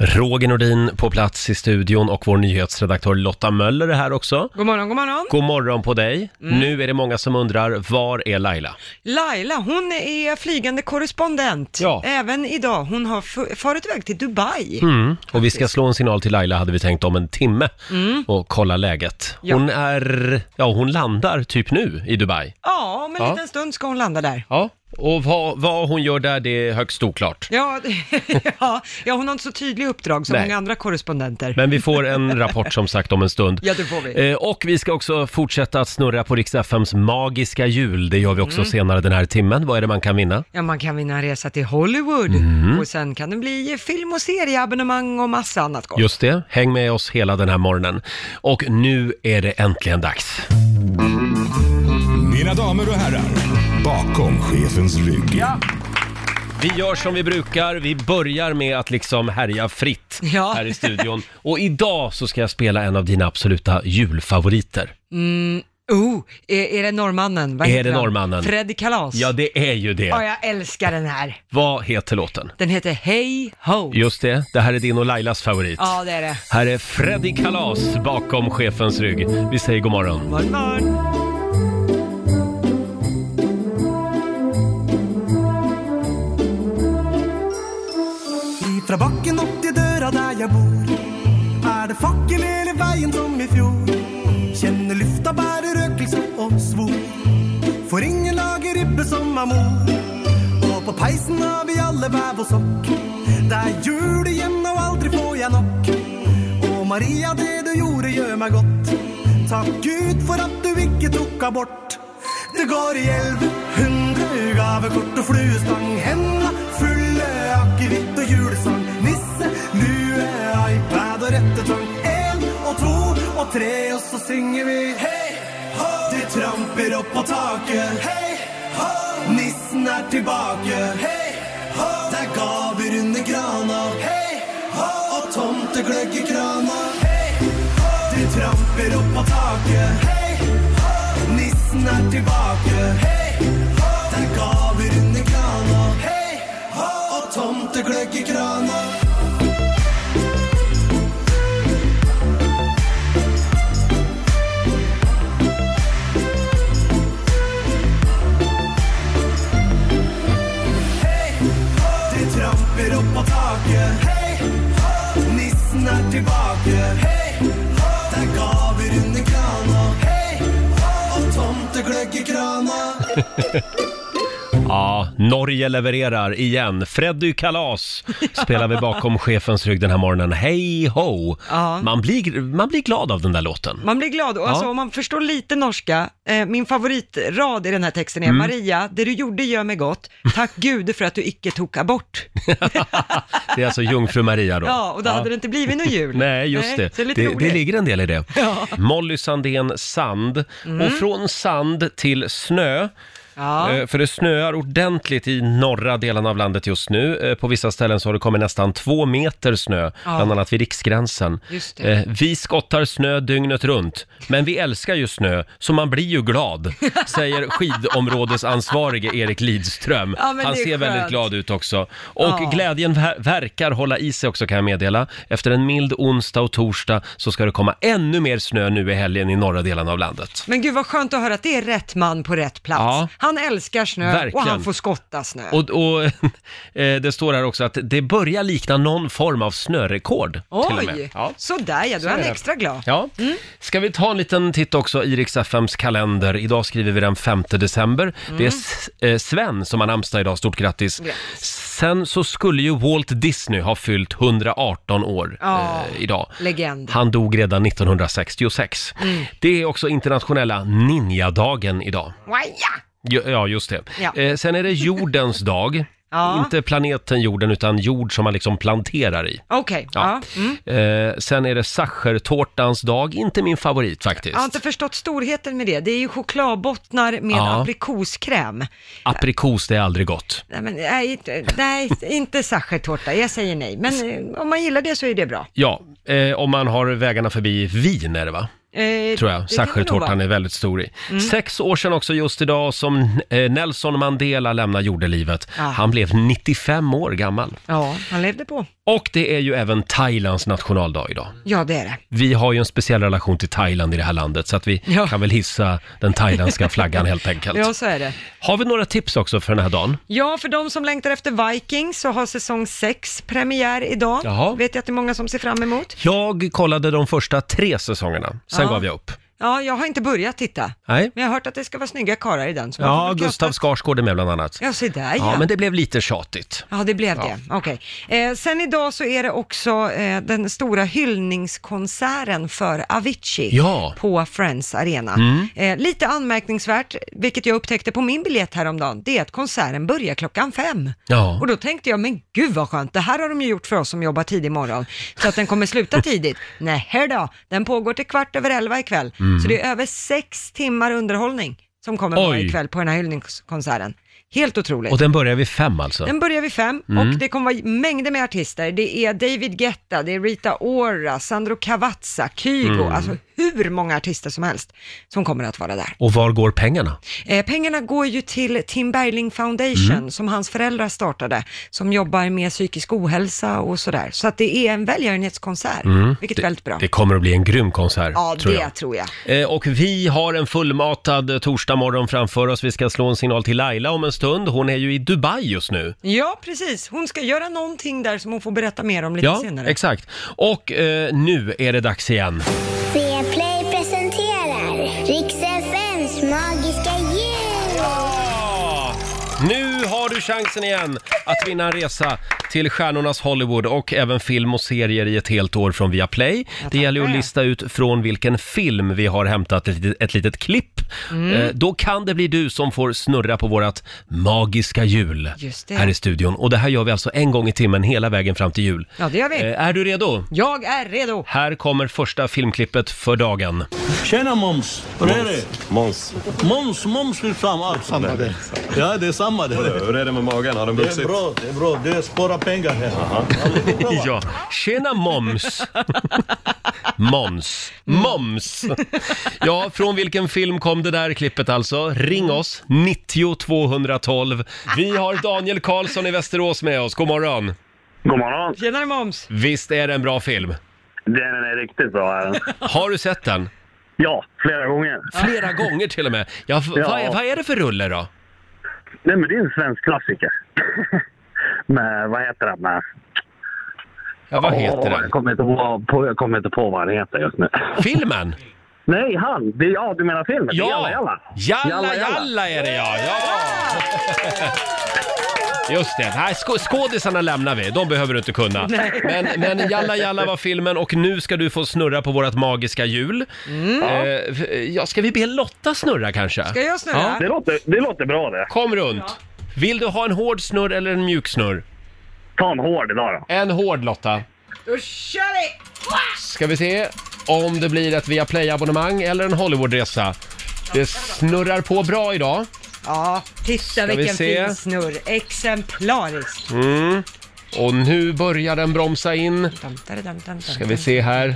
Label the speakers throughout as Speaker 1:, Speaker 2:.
Speaker 1: Roger Nordin på plats i studion och vår nyhetsredaktör Lotta Möller är här också.
Speaker 2: God morgon, god morgon.
Speaker 1: God morgon på dig!
Speaker 2: Mm.
Speaker 1: Nu är det många som undrar, var är Laila?
Speaker 2: Laila, hon är flygande korrespondent.
Speaker 1: Ja.
Speaker 2: Även idag. Hon har f- farit iväg till Dubai.
Speaker 1: Mm. Och vi ska slå en signal till Laila hade vi tänkt om en timme
Speaker 2: Mm.
Speaker 1: och kolla läget.
Speaker 2: Ja.
Speaker 1: Hon är, ja hon landar typ nu i Dubai.
Speaker 2: Ja, om en
Speaker 1: Ja.
Speaker 2: liten stund ska hon landa där.
Speaker 1: Ja, och vad, vad hon gör där det är högst oklart.
Speaker 2: Ja, ja, ja hon har inte så tydliga uppdrag som
Speaker 1: Nej.
Speaker 2: många andra korrespondenter.
Speaker 1: Men vi får en rapport som sagt om en stund.
Speaker 2: Ja, det får vi.
Speaker 1: Eh, Och vi ska också fortsätta att snurra på Rix FMs magiska hjul. Det gör vi också
Speaker 2: Mm.
Speaker 1: senare den här timmen. Vad är det man kan vinna?
Speaker 2: Ja, man kan vinna en resa till Hollywood
Speaker 1: Mhm.
Speaker 2: och sen kan det bli film och serieabonnemang och massa annat gott.
Speaker 1: Just det, häng med oss hela den här morgonen. Och nu är det äntligen dags.
Speaker 3: Mina damer och herrar, bakom chefens rygg.
Speaker 1: Vi gör som vi brukar, vi börjar med att liksom härja fritt här i studion. Och idag så ska jag spela en av dina absoluta julfavoriter.
Speaker 2: Mm, oh, är, är det norrmannen? Vad
Speaker 1: Är
Speaker 2: heter
Speaker 1: det
Speaker 2: han?
Speaker 1: norrmannen?
Speaker 2: Freddy Kalas.
Speaker 1: Ja, det är ju
Speaker 2: Ja,
Speaker 1: det.
Speaker 2: jag älskar den här.
Speaker 1: Vad heter låten?
Speaker 2: Den heter Hey Ho.
Speaker 1: Just det, det här är din och Lailas favorit.
Speaker 2: Ja, det är det.
Speaker 1: Här är Freddy Kalas bakom chefens rygg. Vi säger god morgon.
Speaker 2: God morgon.
Speaker 4: Ifrån backen upp till dörra där jag bor Är det facken eller vägen som i fjol Känner lyfta bärer rökelse och svor Får ingen lager ribbe som amor Och på pejsen har vi alla väv och sock Det är jul igen och aldrig får jag nog Och Maria det du gjorde gör mig gott Tack Gud för att du inte tog abort Det går i elv, hundra gavekort och fluestång Henda fulle akevitt och julesång Nisse, lue, iPad og rettetång En og to og tre og så synger vi Hei, ho! Det tramper opp på taket Hei, ho! Nissen er tilbake Hei, ho! Det er gaver under grana Hei, ho! Og tomtegløgg i krana Hei, ho! Det tramper opp på taket Hei, ho! Nissen er tilbake Hei, ho! Det er gaver under grana Hei, ho! Og tomtegløgg i krana Det tramper opp på taket. Hei, hå! Nissen er tilbake. Hei, hå! Det er gaver under krana. Hei, hå! Og tomtegløgg i krana.
Speaker 1: Ja, Norge levererar igen. Freddy Kalas spelar vi bakom chefens rygg den här morgonen. Hej ho!
Speaker 2: Ja.
Speaker 1: Man, blir, man blir glad av den där låten.
Speaker 2: Man blir glad och alltså,
Speaker 1: Ja.
Speaker 2: om man förstår lite norska, eh, min favoritrad i den här texten är
Speaker 1: Mm.
Speaker 2: Maria, det du gjorde gör mig gott, tack gude för att du icke tog abort.
Speaker 1: Det är alltså Jungfru Maria då.
Speaker 2: Ja, och då hade det inte blivit någon jul.
Speaker 1: Nej,
Speaker 2: Nej,
Speaker 1: just det.
Speaker 2: så det är lite
Speaker 1: det,
Speaker 2: roligt.
Speaker 1: ligger en del i det.
Speaker 2: Ja.
Speaker 1: Molly Sandén Sand.
Speaker 2: Mm.
Speaker 1: Och från sand till snö.
Speaker 2: Ja.
Speaker 1: Eh, För det snöar ordentligt i norra delen av landet just nu. Eh, På vissa ställen så har det kommit nästan två meter snö,
Speaker 2: Ja.
Speaker 1: bland annat vid Riksgränsen.
Speaker 2: Just det.
Speaker 1: Eh, Vi skottar snö dygnet runt, men vi älskar ju snö, så man blir ju glad, säger skidområdesansvarige Erik Lidström.
Speaker 2: Ja, men
Speaker 1: Han
Speaker 2: det är
Speaker 1: ser väldigt
Speaker 2: skönt.
Speaker 1: glad ut också. Och
Speaker 2: Ja.
Speaker 1: glädjen ver- verkar hålla i sig också kan jag meddela. Efter en mild onsdag och torsdag så ska det komma ännu mer snö nu i helgen i norra delen av landet.
Speaker 2: Men gud vad skönt att höra att det är rätt man på rätt plats.
Speaker 1: Ja.
Speaker 2: Han älskar snö och
Speaker 1: Verkligen.
Speaker 2: han får skotta snö.
Speaker 1: Och, och eh, det står här också att det börjar likna någon form av snörekord. till och med.
Speaker 2: Oj,
Speaker 1: Ja.
Speaker 2: sådär ja, då
Speaker 1: Så
Speaker 2: är han
Speaker 1: är det.
Speaker 2: extra glad. Mm.
Speaker 1: Ja. Ska vi ta en liten titt också i Rix FMs kalender. Idag skriver vi den 5 december.
Speaker 5: Mm.
Speaker 1: Det är S- eh, Sven som har namnsdag idag, stort grattis. Sen så skulle ju Walt Disney ha fyllt 118 år
Speaker 2: Ja.
Speaker 1: eh, idag.
Speaker 2: Legend.
Speaker 1: Han dog redan 1966.
Speaker 2: Mm.
Speaker 1: Det är också internationella ninjadagen idag.
Speaker 2: Waja!
Speaker 1: Jo- Ja, just det.
Speaker 2: Ja.
Speaker 1: Eh, sen är det jordens dag.
Speaker 2: Ja.
Speaker 1: Inte planeten jorden, utan jord som man liksom planterar i.
Speaker 2: Okej,
Speaker 1: Ja.
Speaker 2: ja. Mm.
Speaker 1: Eh, sen är det sachertårtans dag, inte min favorit faktiskt.
Speaker 2: Jag har inte förstått storheten med det. Det är ju chokladbottnar med
Speaker 1: Ja.
Speaker 2: aprikoskräm.
Speaker 1: Aprikos, det är aldrig gott.
Speaker 2: Nej, men, nej, inte- nej inte sachertårta. Jag säger nej. Men eh, om man gillar det så är det bra.
Speaker 1: Ja, eh, om man har vägarna förbi Wien är det va?
Speaker 2: Eh,
Speaker 1: tror
Speaker 2: det
Speaker 1: jag.
Speaker 2: kan det nog
Speaker 1: Sachertårtan
Speaker 2: vara.
Speaker 1: är väldigt stor i.
Speaker 2: Mm.
Speaker 1: Sex år sedan också just idag som eh, Nelson Mandela lämnar jordelivet.
Speaker 2: Ja.
Speaker 1: Han blev 95 år gammal.
Speaker 2: Ja, han levde på.
Speaker 1: Och det är ju även Thailands nationaldag idag.
Speaker 2: Ja, det är det.
Speaker 1: Vi har ju en speciell relation till Thailand i det här landet så att vi
Speaker 2: Ja.
Speaker 1: kan väl hissa den thailändska flaggan helt enkelt.
Speaker 2: Ja, så är det.
Speaker 1: Har vi några tips också för den här dagen?
Speaker 2: Ja, för de som längtar efter Vikings så har säsong 6 premiär idag.
Speaker 1: Jaha.
Speaker 2: Vet jag att det är många som ser fram emot.
Speaker 1: Jag kollade de första tre säsongerna, sen
Speaker 2: Ja.
Speaker 1: gav jag upp.
Speaker 2: Ja, jag har inte börjat titta.
Speaker 1: Nej.
Speaker 2: Men jag har hört att det ska vara snygga karlar i den. så man får
Speaker 1: Ja,
Speaker 2: väl
Speaker 1: Gustav
Speaker 2: kasta-
Speaker 1: Skarsgård är med bland annat.
Speaker 2: Ja, se där ja.
Speaker 1: Ja, men det blev lite tjatigt.
Speaker 2: Ja, det blev
Speaker 1: Ja.
Speaker 2: det. Okej. Eh, sen idag så är det också eh, den stora hyllningskonserten för Avicii
Speaker 1: Ja.
Speaker 2: på Friends Arena.
Speaker 1: Mm.
Speaker 2: Eh, lite anmärkningsvärt, vilket jag upptäckte på min biljett häromdagen, det är att konserten börjar klockan fem.
Speaker 1: Ja.
Speaker 2: Och då tänkte jag, men gud vad skönt, det här har de ju gjort för oss som jobbar tidig morgon, så att den kommer sluta tidigt. Nej, här då, den pågår till kvart över elva ikväll,
Speaker 5: Mm.
Speaker 2: så det är över sex timmar underhållning som kommer vara
Speaker 1: Oj.
Speaker 2: ikväll på den här hyllningskonserten. Helt otroligt.
Speaker 1: Och den börjar vid fem alltså?
Speaker 2: Den börjar vid fem
Speaker 1: Mm.
Speaker 2: och det kommer vara mängder med artister. Det är David Guetta, det är Rita Ora, Sandro Cavazza, Kygo,
Speaker 1: Mm.
Speaker 2: alltså hur många artister som helst som kommer att vara där.
Speaker 1: Och var går pengarna?
Speaker 2: Eh, pengarna går ju till Tim Bergling Foundation
Speaker 1: Mm.
Speaker 2: som hans föräldrar startade, som jobbar med psykisk ohälsa och sådär. Så att det är en välgörenhetskonsert,
Speaker 1: Mm.
Speaker 2: vilket
Speaker 1: Det-
Speaker 2: är väldigt bra.
Speaker 1: Det kommer att bli en grym konsert,
Speaker 2: ja,
Speaker 1: tror
Speaker 2: det
Speaker 1: jag.
Speaker 2: tror jag.
Speaker 1: Eh, Och vi har en fullmatad torsdag morgon framför oss. Vi ska slå en signal till Laila om en stund. Hon är ju i Dubai just nu.
Speaker 2: Ja, precis. Hon ska göra någonting där som hon får berätta mer om lite
Speaker 1: Ja,
Speaker 2: senare.
Speaker 1: exakt. Och eh, nu är det dags igen.
Speaker 6: Play presenterar Rix FMs magiska jul!
Speaker 1: Nu har du chansen igen att vinna en resa till stjärnornas Hollywood och även film och serier i ett helt år från Viaplay. Det gäller att lista ut från vilken film vi har hämtat ett, litet- ett litet klipp.
Speaker 7: Mm.
Speaker 1: Eh, då kan det bli du som får snurra på vårat magiska hjul
Speaker 2: Just det.
Speaker 1: här i studion. Och det här gör vi alltså en gång i timmen hela vägen fram till jul.
Speaker 2: Ja, det gör vi.
Speaker 1: Eh, är du redo?
Speaker 2: Jag är redo.
Speaker 1: Här kommer första filmklippet för dagen.
Speaker 8: Tjena Måns! Hur är det?
Speaker 9: Måns.
Speaker 8: Måns, Måns vill fram allt. Samma det. Ja, det är samma det.
Speaker 9: Hur är det med magen? Har den
Speaker 8: Det är
Speaker 9: vuxit?
Speaker 8: bra, det är bra. Det är spara pengar här.
Speaker 1: ja. Tjena moms! moms. Moms! Ja, från vilken film kom det där klippet alltså? Ring oss, 90 212. Vi har Daniel Karlsson i Västerås med oss. God morgon!
Speaker 10: God morgon!
Speaker 2: Tjenare Moms!
Speaker 1: Visst är det en bra film?
Speaker 10: Den är riktigt bra. Är den.
Speaker 1: Har du sett den?
Speaker 10: Ja, flera gånger.
Speaker 1: Flera gånger till och med. Ja, f-
Speaker 10: Ja.
Speaker 1: Vad, är, vad är det för rulle då?
Speaker 10: Nej, men det är en svensk klassiker. med, vad heter den? Med?
Speaker 1: Ja, vad heter den?
Speaker 10: Jag kommer, inte på, på, jag kommer inte på vad den heter just nu.
Speaker 1: Filmen?
Speaker 10: Nej, han! Det, ja, du menar filmen? Det är
Speaker 1: Ja.
Speaker 10: Jalla Jalla!
Speaker 1: Jalla Jalla är det ja! ja. Just det, Nej, sk- skådisarna lämnar vi, de behöver du inte kunna.
Speaker 7: Nej.
Speaker 1: Men, men Jalla Jalla var filmen och nu ska du få snurra på vårt magiska hjul. Eh, f- ja, ska vi be Lotta snurra kanske?
Speaker 2: Ska jag snurra?
Speaker 1: Ja.
Speaker 2: Det
Speaker 10: låter, det låter bra det.
Speaker 1: Kom runt. Vill du ha en hård snurr eller en mjuk snurr?
Speaker 10: Ta en hård idag då.
Speaker 1: En hård Lotta.
Speaker 2: Då kör vi!
Speaker 1: Ska vi se om det blir ett Viaplay-abonnemang eller en Hollywoodresa. Det snurrar på bra idag.
Speaker 2: Ja, titta
Speaker 1: vi
Speaker 2: vilken
Speaker 1: se?
Speaker 2: fin snurr. Exemplarisk.
Speaker 1: Mm. Och nu börjar den bromsa in.
Speaker 2: Dam, dam, dam,
Speaker 1: Ska vi se här.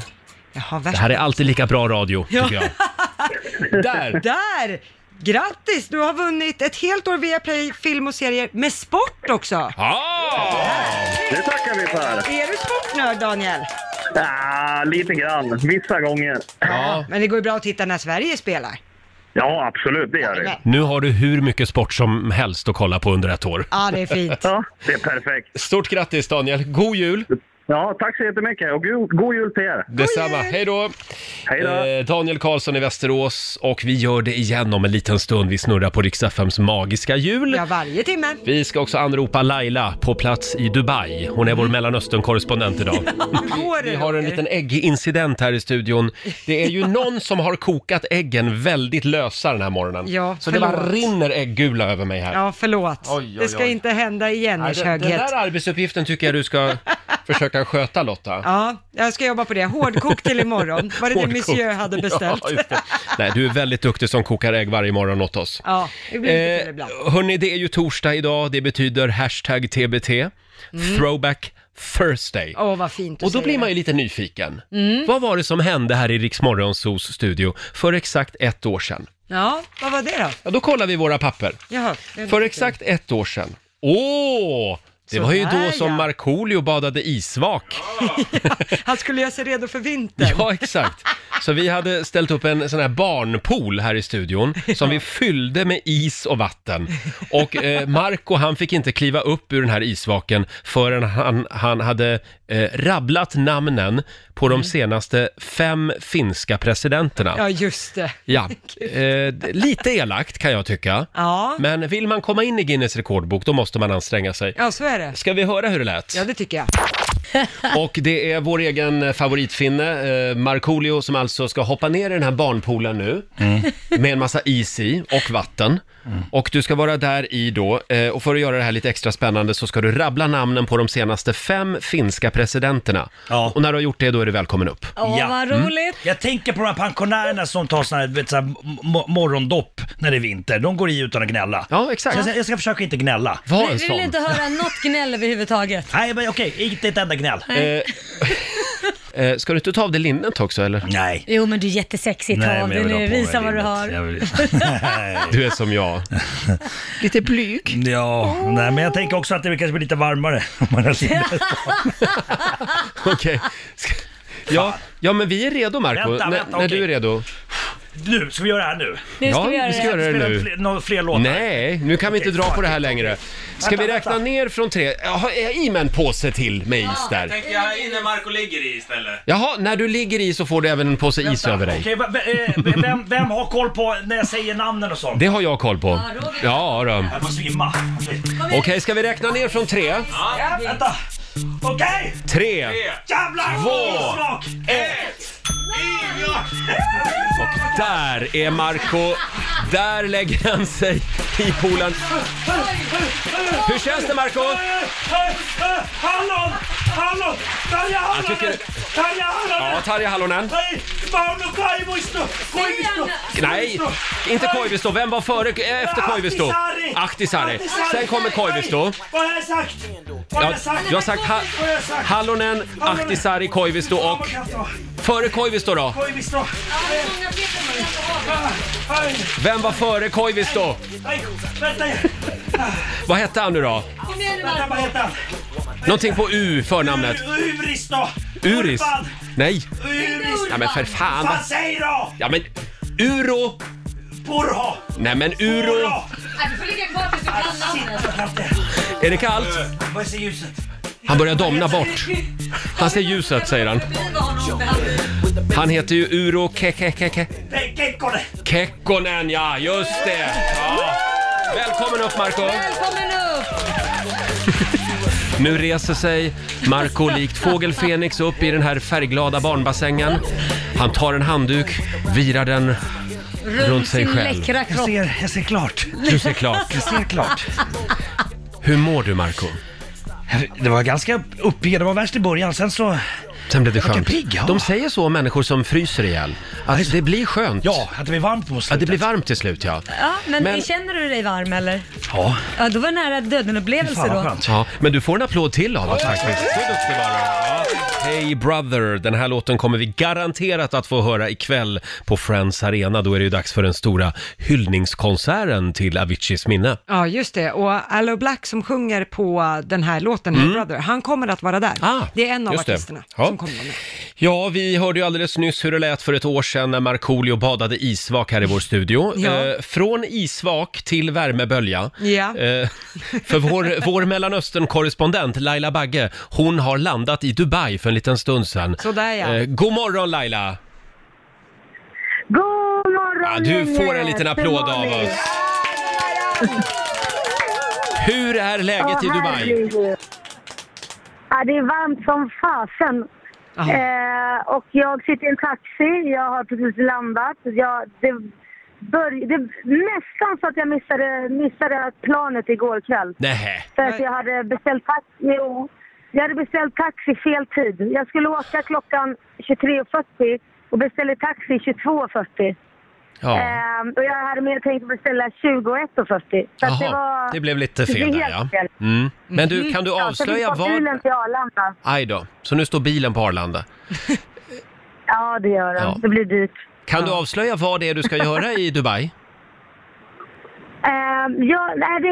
Speaker 1: det här är alltid lika bra radio,
Speaker 2: Ja.
Speaker 1: tycker jag. Där!
Speaker 2: Där! Grattis! Du har vunnit ett helt år via Play film och serier med sport också.
Speaker 10: Det tackar vi för!
Speaker 2: Är du sportnörd Daniel?
Speaker 10: Ja, lite grann. Vissa gånger.
Speaker 2: Ja. Men det går ju bra att titta när Sverige spelar.
Speaker 10: Ja, absolut. Det gör det.
Speaker 1: Nu har du hur mycket sport som helst att kolla på under ett år.
Speaker 2: Ja, det är fint.
Speaker 10: Ja, det är perfekt.
Speaker 1: Stort grattis Daniel! God jul!
Speaker 10: Ja, tack så jättemycket och god, god jul till er!
Speaker 1: Detsamma, hej då!
Speaker 10: Hej då!
Speaker 1: Eh, Daniel Karlsson i Västerås och vi gör det igen om en liten stund. Vi snurrar på Rix FMs magiska jul.
Speaker 2: Ja, varje timme.
Speaker 1: Vi ska också anropa Laila på plats i Dubai. Hon är vår Mellanöstern-korrespondent idag.
Speaker 2: Går det,
Speaker 1: Vi har en
Speaker 2: Roger?
Speaker 1: liten äggincident här i studion. Det är ju någon som har kokat äggen väldigt lösa den här morgonen.
Speaker 2: Ja,
Speaker 1: Så det bara
Speaker 2: förlåt.
Speaker 1: rinner ägggula över mig här.
Speaker 2: Ja, förlåt.
Speaker 1: Oj, oj,
Speaker 2: Det ska
Speaker 1: oj.
Speaker 2: inte hända igen,
Speaker 1: Nej,
Speaker 2: Ers
Speaker 1: den, den
Speaker 2: höghet.
Speaker 1: där arbetsuppgiften tycker jag du ska försöka sköta Lotta.
Speaker 2: Ja, jag ska jobba på det. Hårdkok till imorgon. Var det det
Speaker 1: Hårdkokt.
Speaker 2: monsieur hade beställt?
Speaker 1: Ja, just det. Nej, du är väldigt duktig som kokar ägg varje morgon åt oss. Eh,
Speaker 2: Ja, det blir lite fel ibland. Mm.
Speaker 1: hörni, det är ju torsdag idag. Det betyder hashtag TBT. Throwback Thursday.
Speaker 2: Åh, vad fint du
Speaker 1: Och då
Speaker 2: säger
Speaker 1: blir
Speaker 2: det. Mm.
Speaker 1: man ju lite nyfiken. Vad var det som hände här i Riksmorgonsos studio för exakt ett år sedan?
Speaker 2: Ja, vad var det då?
Speaker 1: Ja, då kollar vi våra papper.
Speaker 2: Jaha, det-
Speaker 1: För exakt ett år sedan. Åh! Det
Speaker 2: Så
Speaker 1: var ju
Speaker 2: där,
Speaker 1: då som
Speaker 2: ja.
Speaker 1: Markoolio badade isvak.
Speaker 2: Han skulle göra sig redo för vintern.
Speaker 1: Ja, exakt. Så vi hade ställt upp en sån här barnpool här i studion som vi fyllde med is och vatten. Och eh, Marco han fick inte kliva upp ur den här isvaken förrän han, han hade eh, rabblat namnen på de senaste fem finska presidenterna.
Speaker 2: Mm. Ja, just det.
Speaker 1: Ja, eh, d- lite elakt kan jag tycka.
Speaker 2: Ja.
Speaker 1: Men vill man komma in i Guinness rekordbok då måste man anstränga sig.
Speaker 2: Ja, så är det.
Speaker 1: Ska vi höra hur det lät?
Speaker 2: Ja, det tycker jag.
Speaker 1: Och det är vår egen favoritfinne, eh, Markoolio, som alltså ska hoppa ner i den här barnpoolen nu. Med en massa is i och vatten. Och du ska vara där i då. Eh, och för att göra det här lite extra spännande så ska du rabbla namnen på de senaste fem finska presidenterna.
Speaker 5: Ja.
Speaker 1: Och när du har gjort det, då är du välkommen upp.
Speaker 7: Åh,
Speaker 5: Ja. Mm.
Speaker 7: vad roligt!
Speaker 5: Jag tänker på de här pensionärerna som tar såna här, vet, så här mo- morgondopp när det är vinter. De går i utan att gnälla.
Speaker 1: Ja,
Speaker 5: Så
Speaker 1: exakt.
Speaker 5: jag, ska- jag ska försöka inte gnälla.
Speaker 1: Var en
Speaker 7: Vi vill
Speaker 1: sån.
Speaker 7: inte höra något gnäll överhuvudtaget.
Speaker 5: Nej, men okej, inte ett enda gnäll.
Speaker 1: Eh, ska du inte ta av dig linnet också, eller?
Speaker 5: Nej.
Speaker 7: Jo men du är jättesexig, ta
Speaker 5: Nej,
Speaker 7: av
Speaker 5: men
Speaker 7: dig
Speaker 5: jag vill
Speaker 7: nu,
Speaker 5: ha på mig
Speaker 7: visa vad du
Speaker 5: linnet.
Speaker 7: har.
Speaker 5: Jag vill...
Speaker 1: Du är som jag. Lite blyg.
Speaker 5: ja, nej, men jag tänker också att det kanske blir lite varmare om man har linnet.
Speaker 1: Okej. Ska- Ja, ja, men vi är redo, Marco.
Speaker 5: Vänta,
Speaker 1: N- när
Speaker 5: vänta, okej.
Speaker 1: du är redo.
Speaker 5: Nu, ska vi göra det här nu?
Speaker 7: Nu ska
Speaker 1: ja,
Speaker 7: vi göra
Speaker 1: vi ska
Speaker 7: det.
Speaker 1: göra det
Speaker 5: Spela
Speaker 1: nu.
Speaker 5: fler, några fler låtar?
Speaker 1: Nej, nu kan vi inte
Speaker 5: Okej,
Speaker 1: dra på
Speaker 5: fuck
Speaker 1: det här
Speaker 5: it,
Speaker 1: längre. Ska
Speaker 5: Vänta,
Speaker 1: vi räkna
Speaker 5: vänta.
Speaker 1: ner från tre? Jaha, är jag i med en påse till med is där?
Speaker 8: Tänker jag här inne Marco ligger i istället.
Speaker 1: Jaha, när du ligger i så får du även en påse is över dig.
Speaker 5: Okej, va- va- eh, v- vem, vem har koll på när jag säger namnen och sånt?
Speaker 1: Det har jag koll på.
Speaker 7: Ja, Roger.
Speaker 1: Ja, då.
Speaker 5: Jag måste svimma. Okej,
Speaker 1: Okej, ska vi räkna ner från tre?
Speaker 5: Vänta! Okej!
Speaker 1: Tre.
Speaker 5: Jävlar!
Speaker 1: Två.
Speaker 5: Isvak!
Speaker 1: Och där är Marco. Där lägger han sig i poolen. Hur känns det Marco?
Speaker 5: Hallon! Hallon! Tarja
Speaker 1: Jag
Speaker 5: Halonen!
Speaker 1: tycker-
Speaker 5: Tarja
Speaker 1: Ja,
Speaker 5: Halonen!
Speaker 1: Tarja Halonen.
Speaker 5: Hei, Mauno Koivisto! Koivisto!
Speaker 1: Nej, inte Koivisto. Vem var före, eh, efter Koivisto? Ahtisaari. Sen kommer Koivisto.
Speaker 5: Vad har jag sagt? Vad har
Speaker 1: Ja,
Speaker 5: jag sagt?
Speaker 1: du har sagt ha
Speaker 5: Vad har jag sagt?
Speaker 1: Hallonen, Ahtisaari, Koivisto och... Före Koivisto då?
Speaker 5: Koivisto!
Speaker 1: Vem var före Koivisto?
Speaker 5: Nej, vänta!
Speaker 1: Vad hette han nu då?
Speaker 7: Kom igen nu
Speaker 5: Vänta, vad
Speaker 7: Marco.
Speaker 5: heter han?
Speaker 1: Någonting på U, förnamnet.
Speaker 5: Uristo!
Speaker 1: Uris?
Speaker 5: Urban.
Speaker 1: Nej.
Speaker 5: Uris!
Speaker 1: Ja, men för fan.
Speaker 5: Fan, säg då!
Speaker 1: Ja, men Uro.
Speaker 5: Burho!
Speaker 1: Nej, men Uro.
Speaker 5: Burho!
Speaker 7: Nej, Du får ligga kvar tills du kan
Speaker 5: Shit,
Speaker 7: namnet.
Speaker 5: jag kan inte.
Speaker 1: Är det kallt?
Speaker 5: Vad är så ljuset?
Speaker 1: Han börjar domna bort. Han ser ljuset, säger han. Han heter ju Uro Kekekeke.
Speaker 5: Nej, Gekkonen!
Speaker 1: Kekkonen, ja, just det. Ja. Välkommen upp, Marco.
Speaker 7: Välkommen upp!
Speaker 1: Nu reser sig Marco likt fågel Fenix upp i den här färgglada barnbassängen. Han tar en handduk, virar den. Runt sig
Speaker 7: sin
Speaker 1: själv.
Speaker 7: läckra kropp.
Speaker 5: ser, jag ser klart.
Speaker 1: Du ser klart.
Speaker 5: Jag ser klart.
Speaker 1: Hur mår du Marco?
Speaker 5: Det var ganska uppgivet, det var värst i början, sen så...
Speaker 1: Sen blev det
Speaker 5: Vilken
Speaker 1: skönt.
Speaker 5: pigg, ja.
Speaker 1: De säger så om människor som fryser ihjäl. Att det blir skönt.
Speaker 5: Ja, att det blev varmt på
Speaker 1: Ja, det
Speaker 5: slutet.
Speaker 1: blir varmt till slut ja.
Speaker 7: Ja, men,
Speaker 1: Men-
Speaker 7: känner du dig varm eller?
Speaker 5: Ja,
Speaker 7: Ja, då var det nära döden-upplevelse
Speaker 5: fan vad
Speaker 7: då.
Speaker 5: skönt.
Speaker 1: Ja, men du får en applåd till av oss faktiskt. Så duktig var du. Ja. Hey brother, den här låten kommer vi garanterat att få höra ikväll på Friends Arena. Då är det ju dags för den stora hyllningskonserten till Aviciis minne.
Speaker 2: Ja, just det. Och Allo Black som sjunger på eh, den här låten, Hey Brother, han kommer att vara där.
Speaker 1: Mm. Ah,
Speaker 2: det är en av
Speaker 1: just det.
Speaker 2: artisterna
Speaker 1: Ja.
Speaker 2: som kommer vara med.
Speaker 1: Ja, vi hörde ju alldeles nyss hur det lät för ett år sedan när Markoolio badade isvak här i vår studio.
Speaker 2: Ja.
Speaker 1: Eh, från isvak till värmebölja.
Speaker 2: Ja.
Speaker 1: Eh, för vår, vår Mellanöstern-korrespondent Laila Bagge, hon har landat i Dubai för en liten stund sedan. Eh,
Speaker 2: Sådär, ja.
Speaker 1: god morgon Laila!
Speaker 6: God morgon
Speaker 1: Ja, du får en liten applåd av oss. Hur är läget i Dubai?
Speaker 6: Ja, det är varmt som fasen.
Speaker 2: Jaha.
Speaker 6: Eh, och jag sitter i en taxi. Jag har precis landat. Jag, det, bör, det nästan så att jag missade, missade planet igår kväll.
Speaker 1: Nähä.
Speaker 6: För att jag hade beställt taxi. Jo, jag hade beställt taxi fel tid. Jag skulle åka klockan 23.40 och beställde taxi 22.40.
Speaker 1: Ja.
Speaker 6: Ehm, och jag hade mer tänkt beställa 21.40. Så att det var...
Speaker 1: Jaha, det blev lite fel
Speaker 6: det är
Speaker 1: där
Speaker 6: helt
Speaker 1: ja.
Speaker 6: fel.
Speaker 1: Mm. Men du, kan du
Speaker 6: ja,
Speaker 1: avslöja
Speaker 6: så vi tar
Speaker 1: vad...
Speaker 6: bilen till Arlanda.
Speaker 1: Aj då, så nu står bilen på Arlanda.
Speaker 6: Ja, det gör den.
Speaker 1: Ja.
Speaker 6: Det blir dyrt.
Speaker 1: Kan du avslöja vad det är du ska göra i Dubai?
Speaker 6: Ehm, ja, nej, det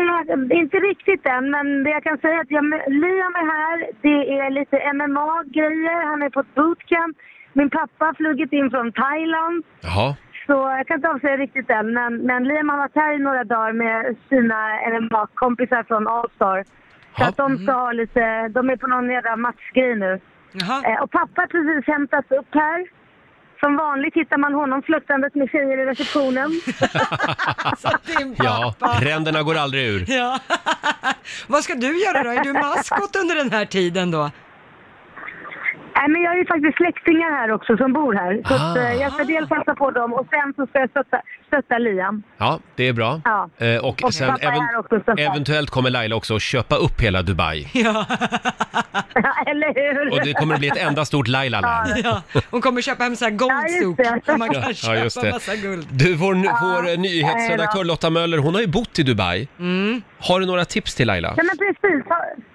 Speaker 6: är inte riktigt än, men det jag kan säga är att jag, Liam är här. Det är lite MMA-grejer. Han är på ett bootcamp. Min pappa har flugit in från Thailand.
Speaker 1: Jaha.
Speaker 6: Så jag kan inte avslöja riktigt än, men, men Liam har varit här i några dagar med sina MMA-kompisar från Allstar. Så
Speaker 1: Ja. Mm.
Speaker 6: att de ska ha lite, de är på någon jävla matchgrej nu.
Speaker 2: Jaha.
Speaker 6: Eh, och pappa har precis hämtats upp här. Som vanligt hittar man honom flörtandet med tjejer i receptionen.
Speaker 1: Ja, ränderna går aldrig ur.
Speaker 2: Ja. Vad ska du göra då? Är du maskot under den här tiden då?
Speaker 6: Nej, Eh, men jag har ju faktiskt släktingar här också som bor här. Så att,
Speaker 1: Ah.
Speaker 6: eh, jag ska dels hälsa på dem och sen så ska jag stötta, stötta Liam.
Speaker 1: Ja, det är bra.
Speaker 6: Ja.
Speaker 1: Eh, Och,
Speaker 6: Och
Speaker 1: sen
Speaker 6: pappa är här också, så att-
Speaker 1: eventuellt kommer Laila också att köpa upp hela Dubai.
Speaker 6: Eller hur?
Speaker 1: Och det kommer att bli ett enda stort Laila-land.
Speaker 2: Ja. Hon kommer köpa hem så här
Speaker 6: Ja, just
Speaker 2: goldsouk
Speaker 6: det.
Speaker 2: där man kan
Speaker 1: Ja,
Speaker 2: köpa
Speaker 1: just det.
Speaker 2: massa guld.
Speaker 1: Du, vår, vår eh, nyhetsredaktör Lotta Möller, hon har ju bott i Dubai. Har du några tips till Laila?
Speaker 6: Mm. Nej, men precis. Ha-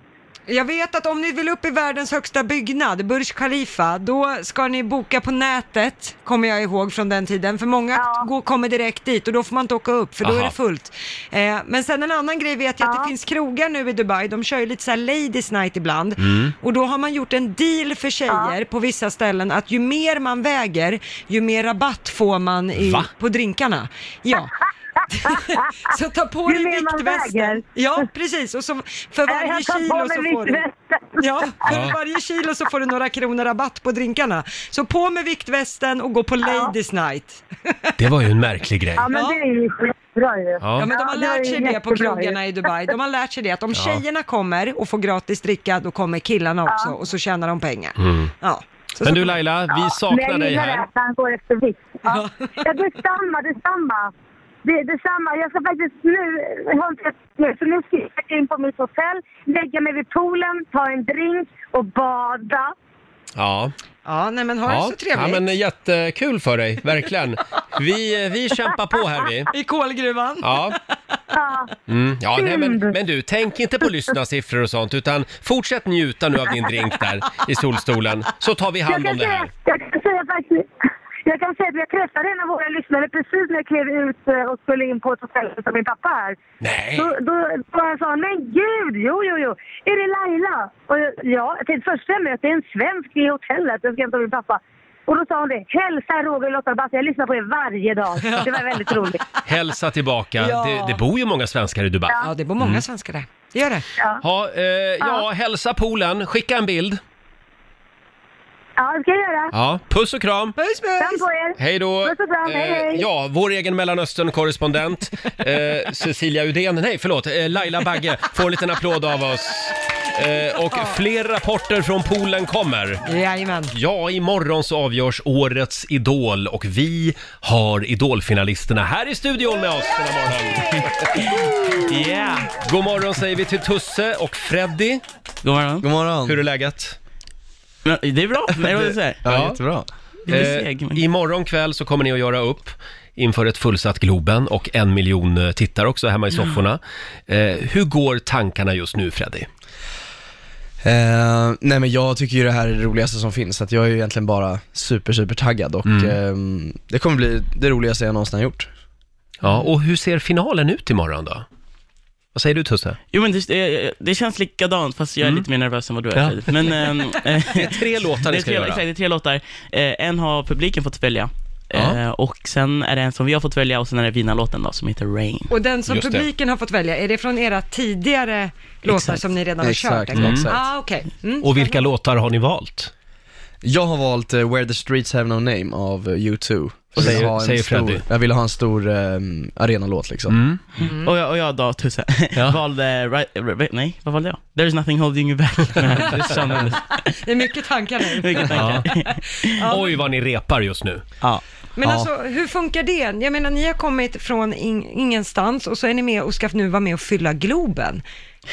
Speaker 2: Jag vet att om ni vill upp i världens högsta byggnad, Burj Khalifa, då ska ni boka på nätet, kommer jag ihåg från den tiden, för många
Speaker 6: Ja.
Speaker 2: går, kommer direkt dit och då får man inte åka upp för då är
Speaker 1: Aha.
Speaker 2: det fullt. Eh, men sen en annan grej vet jag att
Speaker 6: Ja.
Speaker 2: det finns krogar nu i Dubai, de kör ju lite så här ladies night ibland
Speaker 1: Mm.
Speaker 2: och då har man gjort en deal för tjejer på vissa ställen att ju mer man väger, ju mer rabatt får man i,
Speaker 1: Va?
Speaker 2: på drinkarna. Ja. så ta på
Speaker 6: Ju
Speaker 2: dig
Speaker 6: mer man
Speaker 2: viktvästen.
Speaker 6: väger.
Speaker 2: Ja, precis. Och så för varje
Speaker 6: Jag tar
Speaker 2: kilo
Speaker 6: på
Speaker 2: så
Speaker 6: mig
Speaker 2: får du...
Speaker 6: viktvästen.
Speaker 2: Ja, för varje kilo så får du några kronor rabatt på drinkarna. Så på med viktvästen och gå på Ladies Night.
Speaker 1: Det var ju en märklig grej.
Speaker 6: Ja, men
Speaker 2: Ja.
Speaker 6: det är ju skitbra ju.
Speaker 1: Ja.
Speaker 2: Ja, men de har
Speaker 6: Ja, det är
Speaker 2: lärt sig det på
Speaker 6: jättebra
Speaker 2: krogarna i Dubai. De har lärt sig det att om tjejerna kommer och får gratis dricka, då kommer killarna också och så tjänar de pengar. Ja. Så,
Speaker 1: Mm. Men du Laila, vi saknar
Speaker 6: Men jag
Speaker 1: dig
Speaker 6: gillar
Speaker 1: här.
Speaker 6: det att han går efter vikt. Ja. Ja, detsamma, detsamma. Det, detsamma. Jag ska faktiskt nu, jag har inte- nu, så nu ska jag in på mitt hotell, lägga mig vid poolen, ta en drink och bada.
Speaker 1: Ja.
Speaker 2: ja, nej men har det
Speaker 1: Ja.
Speaker 2: så trevligt.
Speaker 1: ja, men jättekul för dig, verkligen. Vi, vi kämpar på här vi.
Speaker 2: I kolgruvan.
Speaker 1: Ja,
Speaker 6: Ja,
Speaker 1: mm. ja nej, men, men du, tänk inte på lyssnarsiffror och sånt, utan fortsätt njuta nu av din drink där i solstolen, så tar vi
Speaker 6: jag,
Speaker 1: hand om
Speaker 6: kan
Speaker 1: det
Speaker 6: säga,
Speaker 1: här.
Speaker 6: jag kan säga faktiskt... Jag kan säga att jag träffade en av våra lyssnare precis när jag klev ut eh, och skulle in på ett hotell som min pappa är.
Speaker 1: Nej.
Speaker 6: Då, då, då sa han, men gud, jo, jo, jo, är det Laila? Och jag, ja, jag tänkte först stämmer att det är en svensk i hotellet, jag ska hämta min pappa. Och då sa hon det, hälsa Roger och Lotta och Basse, jag lyssnar på er varje dag. Det var väldigt roligt.
Speaker 1: Hälsa tillbaka.
Speaker 2: Ja.
Speaker 1: Det, det bor ju många svenskar i Dubai.
Speaker 2: Ja, det bor
Speaker 1: Mm.
Speaker 2: många svenskar där. Det gör det.
Speaker 1: Ha, eh, ja, hälsa poolen, skicka en bild.
Speaker 6: Ja, det ska jag göra.
Speaker 1: Ja, puss och kram!
Speaker 2: Puss,
Speaker 6: Kram
Speaker 2: puss!
Speaker 6: på er.
Speaker 1: Hej då!
Speaker 6: Puss och kram, hej,
Speaker 1: Eh,
Speaker 6: hej.
Speaker 1: ja, vår egen Mellanöstern-korrespondent eh, Cecilia Udén, nej förlåt, eh, Laila Bagge får en liten applåd av oss. Eh, och fler rapporter från poolen kommer.
Speaker 2: Jajamän.
Speaker 1: Ja, imorgon så avgörs årets Idol och vi har Idolfinalisterna här i studion med oss den här morgonen. Yeah. God morgon säger vi till Tusse och Freddy.
Speaker 8: God morgon. God morgon.
Speaker 1: Hur är läget?
Speaker 8: Det är bra. Nej, vad du säger.
Speaker 1: Ja, jättebra. Eh, imorgon kväll så kommer ni att göra upp inför ett fullsatt Globen och en miljon eh, tittare också hemma i sofforna. Eh, hur går tankarna just nu Freddy?
Speaker 8: Eh, nej men jag tycker ju det här är det roligaste som finns, så att jag är ju egentligen bara super, super taggad och
Speaker 1: Mm.
Speaker 8: ehm, det kommer bli det roligaste jag någonsin har gjort.
Speaker 1: Ja, och hur ser finalen ut imorgon då? Vad säger du Tusse?
Speaker 8: Jo men det, känns likadant fast jag är lite mer nervös än vad du
Speaker 1: Mm. Ja.
Speaker 8: Men,
Speaker 1: Det är tre låtar ni ska göra.
Speaker 8: det är tre låtar. Eh, en har publiken fått välja Eh,
Speaker 1: Ja.
Speaker 8: och sen är det en som vi har fått välja och sen är det Vina-låten då som heter Rain.
Speaker 2: Och den som
Speaker 1: Just det.
Speaker 2: publiken har fått välja, är det från era tidigare låtar som ni redan har kört?
Speaker 8: Exakt,
Speaker 2: en gång?
Speaker 8: exakt.
Speaker 2: Ah, okej. Mm.
Speaker 1: Och vilka låtar har ni valt?
Speaker 8: Jag har valt eh, Where the streets have no name av eh, U2
Speaker 1: Och
Speaker 8: Jag vill
Speaker 1: säger-
Speaker 8: ha en
Speaker 1: säger
Speaker 8: stor,
Speaker 1: Freddy. Mm.
Speaker 8: Jag ville ha en stor um, arenalåt liksom och, jag, och jag då, Tusse,
Speaker 1: Ja.
Speaker 8: valde, nej, vad valde jag? There's nothing holding you back
Speaker 2: Det är mycket tankar nu.
Speaker 1: Ja. Oj vad ni repar just nu.
Speaker 2: Men
Speaker 8: Ja.
Speaker 2: alltså, hur funkar det? Jag menar, ni har kommit från in- ingenstans och så är ni med och ska nu vara med och fylla Globen.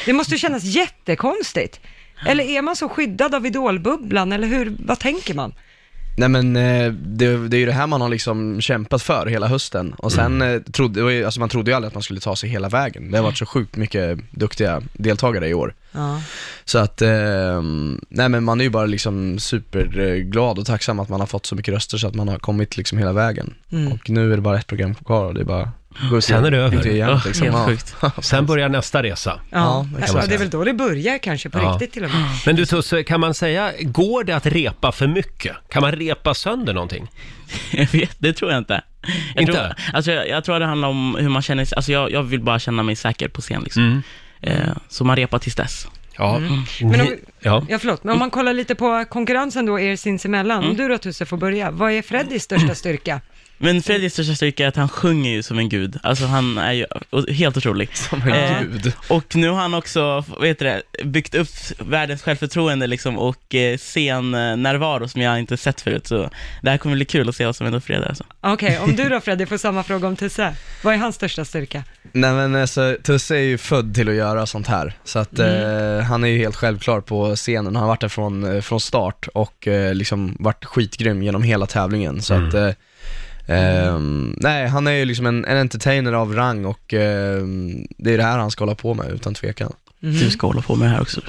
Speaker 2: Det måste ju kännas jättekonstigt. Eller är man så skyddad av idolbubblan, eller hur, vad tänker man?
Speaker 8: Nej men eh, det, det är ju det här man har liksom kämpat för hela hösten och sen
Speaker 1: Mm.
Speaker 8: eh, trodde, det var ju- alltså man trodde ju aldrig att man skulle ta sig hela vägen. Det har varit så sjukt mycket duktiga deltagare i år.
Speaker 2: Ja.
Speaker 8: Så att, eh, nej men man är ju bara liksom superglad och tacksam att man har fått så mycket röster så att man har kommit liksom hela vägen. Och nu är det bara ett program kvar och det är bara gå och se
Speaker 1: Sen är det över.
Speaker 8: ut igen,
Speaker 1: Ja,
Speaker 8: liksom.
Speaker 9: helt
Speaker 8: Ja.
Speaker 9: sjukt.
Speaker 1: Sen börjar nästa resa.
Speaker 2: Ja,
Speaker 8: Ja,
Speaker 2: ja,
Speaker 8: exakt.
Speaker 2: Alltså, det är väl då det börjar kanske på
Speaker 1: Ja.
Speaker 2: riktigt till och med.
Speaker 1: Men du Tusse, kan man säga, går det att repa för mycket? Kan man repa sönder någonting?
Speaker 9: Jag vet, det tror jag inte. Jag
Speaker 1: Inte?
Speaker 9: Tror, alltså, jag, jag tror det handlar om hur man känner sig. Alltså, jag, jag vill bara känna mig säker på scen. Liksom. Eh, så man repar tills dess.
Speaker 1: Mm. Ja.
Speaker 2: Mm. Men om,
Speaker 1: Ni- ja.
Speaker 2: ja, förlåt, men om man kollar lite på konkurrensen då er sinsemellan, om du då Tusse får börja, vad är Freddys största styrka?
Speaker 9: Men Fredriks största styrka är att han sjunger ju som en gud. Alltså han är ju och- helt otrolig. Som
Speaker 8: en
Speaker 2: Eh,
Speaker 8: gud.
Speaker 9: Och nu har han också, vad heter det, byggt upp världens självförtroende liksom och eh, scennärvaro som jag inte sett förut. Så det här kommer bli kul att se vad som händer på fredag. Alltså.
Speaker 2: Okej, om du då Freddy får samma fråga om Tusse, vad är hans största styrka?
Speaker 8: Nej men alltså, Tusse är ju född till att göra sånt här, så att eh, han är ju helt självklar på scenen, han har varit där från, eh, från start och eh, liksom varit skitgrym genom hela tävlingen, så att eh, ehm, nej, han är ju liksom en, en entertainer av rang och ehm, det är det här han ska hålla på med utan tvekan.
Speaker 9: Du ska hålla på med det här också.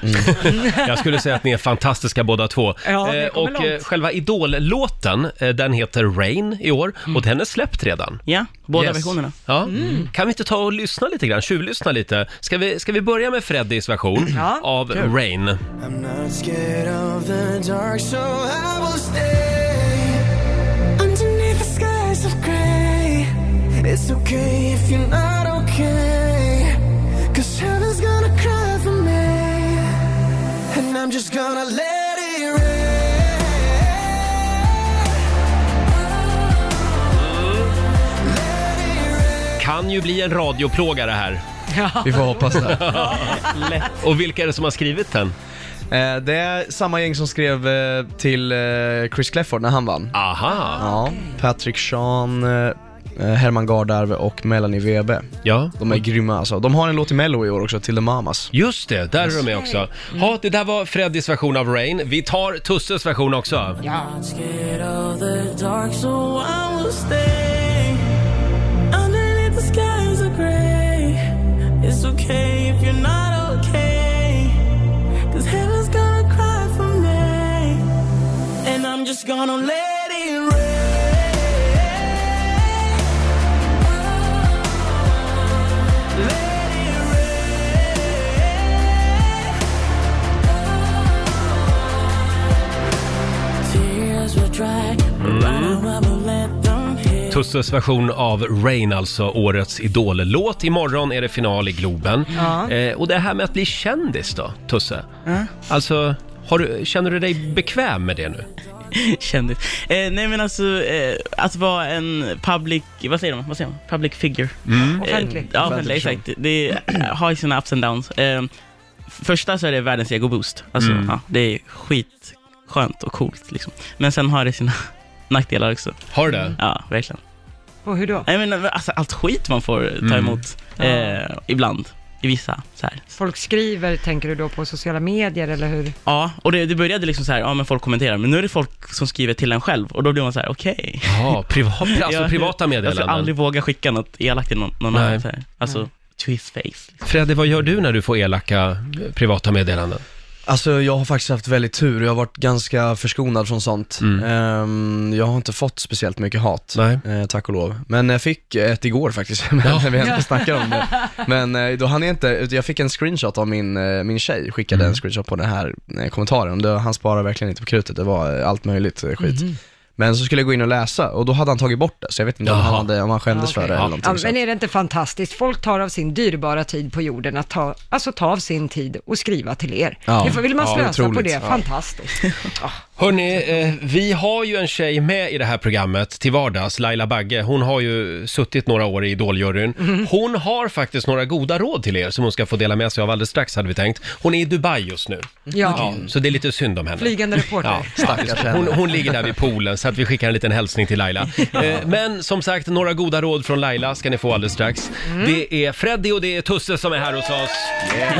Speaker 1: Jag skulle säga att ni är fantastiska båda två.
Speaker 2: Ja, ni
Speaker 1: Eh,
Speaker 2: kommer
Speaker 1: och eh,
Speaker 2: långt.
Speaker 1: själva Idol-låten, eh, den heter Rain i år
Speaker 2: Mm.
Speaker 1: och den är släppt redan.
Speaker 9: Ja, båda
Speaker 8: Yes.
Speaker 9: versionerna.
Speaker 1: Ja. Kan vi inte ta och lyssna lite grann, tjuvlyssna lite? Ska vi, ska vi börja med Freddys version
Speaker 2: Ja.
Speaker 1: av Rain?
Speaker 4: I'm not scared of the dark, so I will stay underneath the skies of gray. It's okay if you're not okay, cause heaven's gonna cry for me, and I'm just gonna let it rain.
Speaker 1: Kan ju bli en radioplåga det här.
Speaker 8: Vi får hoppas det.
Speaker 1: Och vilka är det som har skrivit den?
Speaker 8: Eh, det är samma gäng som skrev eh, till eh, Chris Clefford när han vann.
Speaker 1: Aha!
Speaker 8: Ja, Patrick Sean, eh, Herman Gardarve och Melanie Webe.
Speaker 1: Ja.
Speaker 8: De är grymma alltså. De har en låt i Mello i år också, till The Mamas.
Speaker 1: Just det, där är de med också. Ja, det där var Freddys version av Rain. Vi tar Tusses version också.
Speaker 8: Oh.
Speaker 1: Tusses version av Rain, alltså årets Idol-låt. Imorgon är det final i Globen.
Speaker 2: Ja.
Speaker 1: Eh, och det här med att bli kändis då, Tusse? Alltså, har du, känner du dig bekväm med det nu?
Speaker 9: Kändis. Eh, nej men alltså, eh, att vara en public, vad säger de? Vad säger de? Public figure.
Speaker 2: Offentlig.
Speaker 9: Eh, ja, offentlig,
Speaker 8: Offentlig
Speaker 9: exakt. Det är- har ju sina ups and downs. Eh, första så är det världens egoboost. Alltså, ja, det är skitskönt och coolt liksom. Men sen har det sina nackdelar också.
Speaker 1: Har du det?
Speaker 9: Ja, verkligen.
Speaker 2: Och hur då?
Speaker 9: Nej men alltså, allt skit man får ta
Speaker 1: Mm.
Speaker 9: emot. Eh, ibland. I vissa så här.
Speaker 2: Folk skriver, tänker du då på sociala medier eller hur?
Speaker 9: Ja, och det, det började liksom så här, ja men folk kommenterar, men nu är det folk som skriver till en själv och då blir man så här, okej.
Speaker 1: Ja, privat, alltså
Speaker 9: Ja,
Speaker 1: privata
Speaker 9: Jag
Speaker 1: meddelanden.
Speaker 9: skulle aldrig våga skicka något elakt till någon, någon
Speaker 1: Nej.
Speaker 9: annan. Så här. Alltså, to his face. Liksom.
Speaker 1: Freddy, vad gör du när du får elaka eh, privata meddelanden?
Speaker 8: Alltså jag har faktiskt haft väldigt tur, jag har varit ganska förskonad från sånt. Ehm, jag har inte fått speciellt mycket hat,
Speaker 1: Nej.
Speaker 8: eh, tack och lov. Men jag fick ett igår faktiskt, men när vi ändå snackar om det. Men eh, då hann jag inte, utan jag fick en screenshot av min, eh, min tjej, skickade en screenshot på den här eh, kommentaren. Det, han sparar verkligen inte på krutet, det var eh, allt möjligt eh, skit. Men så skulle jag gå in och läsa och då hade han tagit bort det, så jag vet inte om han,
Speaker 1: Jaha.
Speaker 8: hade, om han skämdes
Speaker 2: Ja,
Speaker 8: för
Speaker 2: okej.
Speaker 8: det eller
Speaker 1: Ja.
Speaker 8: någonting.
Speaker 2: Ja,
Speaker 8: så.
Speaker 2: men är det inte fantastiskt? Folk tar av sin dyrbara tid på jorden att ta, alltså ta av sin tid och skriva till er.
Speaker 8: Ja.
Speaker 2: Det får- vill man
Speaker 8: Ja,
Speaker 2: slösa på
Speaker 8: otroligt.
Speaker 2: det,
Speaker 8: Ja.
Speaker 2: fantastiskt. Ja.
Speaker 1: Hörni, eh, vi har ju en tjej med i det här programmet till vardags, Laila Bagge. Hon har ju suttit några år i Idoljuryn. Hon har faktiskt några goda råd till er som hon ska få dela med sig av alldeles strax hade vi tänkt. Hon är i Dubai just nu.
Speaker 2: Ja.
Speaker 1: så det är lite synd om henne.
Speaker 2: Flygande reporter.
Speaker 1: Ja,
Speaker 8: Stackars henne.
Speaker 1: hon, hon ligger där vid poolen så att vi skickar en liten hälsning till Laila. Eh, Men som sagt, några goda råd från Laila ska ni få alldeles strax.
Speaker 2: Mm.
Speaker 1: Det är Freddy och det är Tusse som är här hos oss.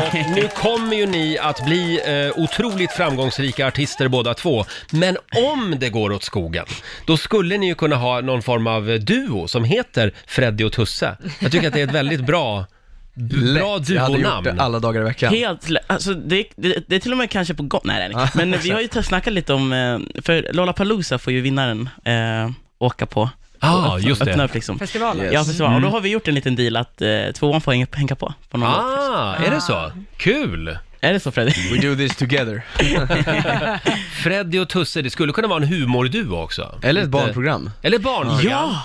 Speaker 1: Och nu kommer ju ni att bli eh, otroligt framgångsrika artister båda två. Men om det går åt skogen, då skulle ni ju kunna ha någon form av duo som heter Freddy och Tusse. Jag tycker att det är ett väldigt bra, bra
Speaker 8: Lätt. Jag hade gjort
Speaker 1: duonamn.
Speaker 8: det alla dagar i veckan.
Speaker 9: Helt lä- alltså det, det, det är till och med kanske på gott, nej, nej, nej. Men vi har ju t- snackat lite om, eh, för Lollapalooza får ju vinnaren eh, åka på.
Speaker 1: Ah,
Speaker 9: Och
Speaker 1: just det.
Speaker 9: Öppna upp liksom.
Speaker 2: Festivalen.
Speaker 9: Ja, festivalen.
Speaker 1: Mm.
Speaker 9: Och då har vi gjort en liten deal att eh, tvåan får hänga, hänga på. på någon låt, liksom.
Speaker 1: Ah, är det så? Kul!
Speaker 9: Är det så Freddy?
Speaker 8: We do this together.
Speaker 1: Freddy och Tusse, det skulle kunna vara en humorduo också.
Speaker 8: Eller ett
Speaker 1: Lite-
Speaker 8: barnprogram.
Speaker 1: Eller ett barnprogram.
Speaker 9: Ja.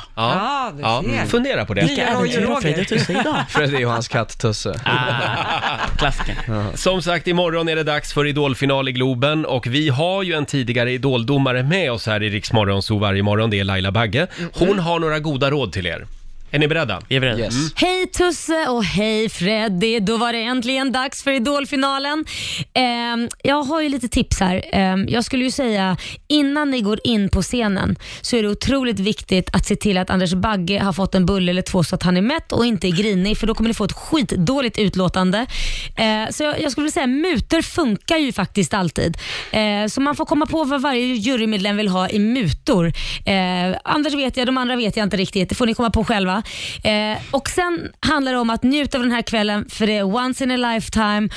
Speaker 2: Ja, du
Speaker 1: Mm.
Speaker 2: ser.
Speaker 1: Fundera på det.
Speaker 9: Vilka
Speaker 2: Roger
Speaker 9: äventyr har
Speaker 2: Roger.
Speaker 9: Freddy och Tusse idag?
Speaker 8: Freddy och hans katt Tusse.
Speaker 9: Ah, klassiker.
Speaker 1: Som sagt, imorgon är det dags för idolfinal i Globen och vi har ju en tidigare idoldomare med oss här i Rix Morgon Zoo varje morgon. Det är Laila Bagge.
Speaker 2: Mm.
Speaker 1: Hon har några goda råd till er. Är ni beredda?
Speaker 9: Vi är beredda.
Speaker 8: Yes.
Speaker 11: Hej Tusse och hej Freddy. Då var det äntligen dags för Idolfinalen. Ehm, jag har ju lite tips här. Ehm, jag skulle ju säga, innan ni går in på scenen så är det otroligt viktigt att se till att Anders Bagge har fått en bulle eller två så att han är mätt och inte är grinig för då kommer ni få ett skitdåligt utlåtande. Ehm, så jag, jag skulle vilja säga, mutor funkar ju faktiskt alltid. Ehm, så man får komma på vad varje jurymedlem vill ha i mutor. Ehm, Anders vet jag, de andra vet jag inte riktigt. Det får ni komma på själva. Eh, och Sen handlar det om att njuta av den här kvällen för det är once in a lifetime.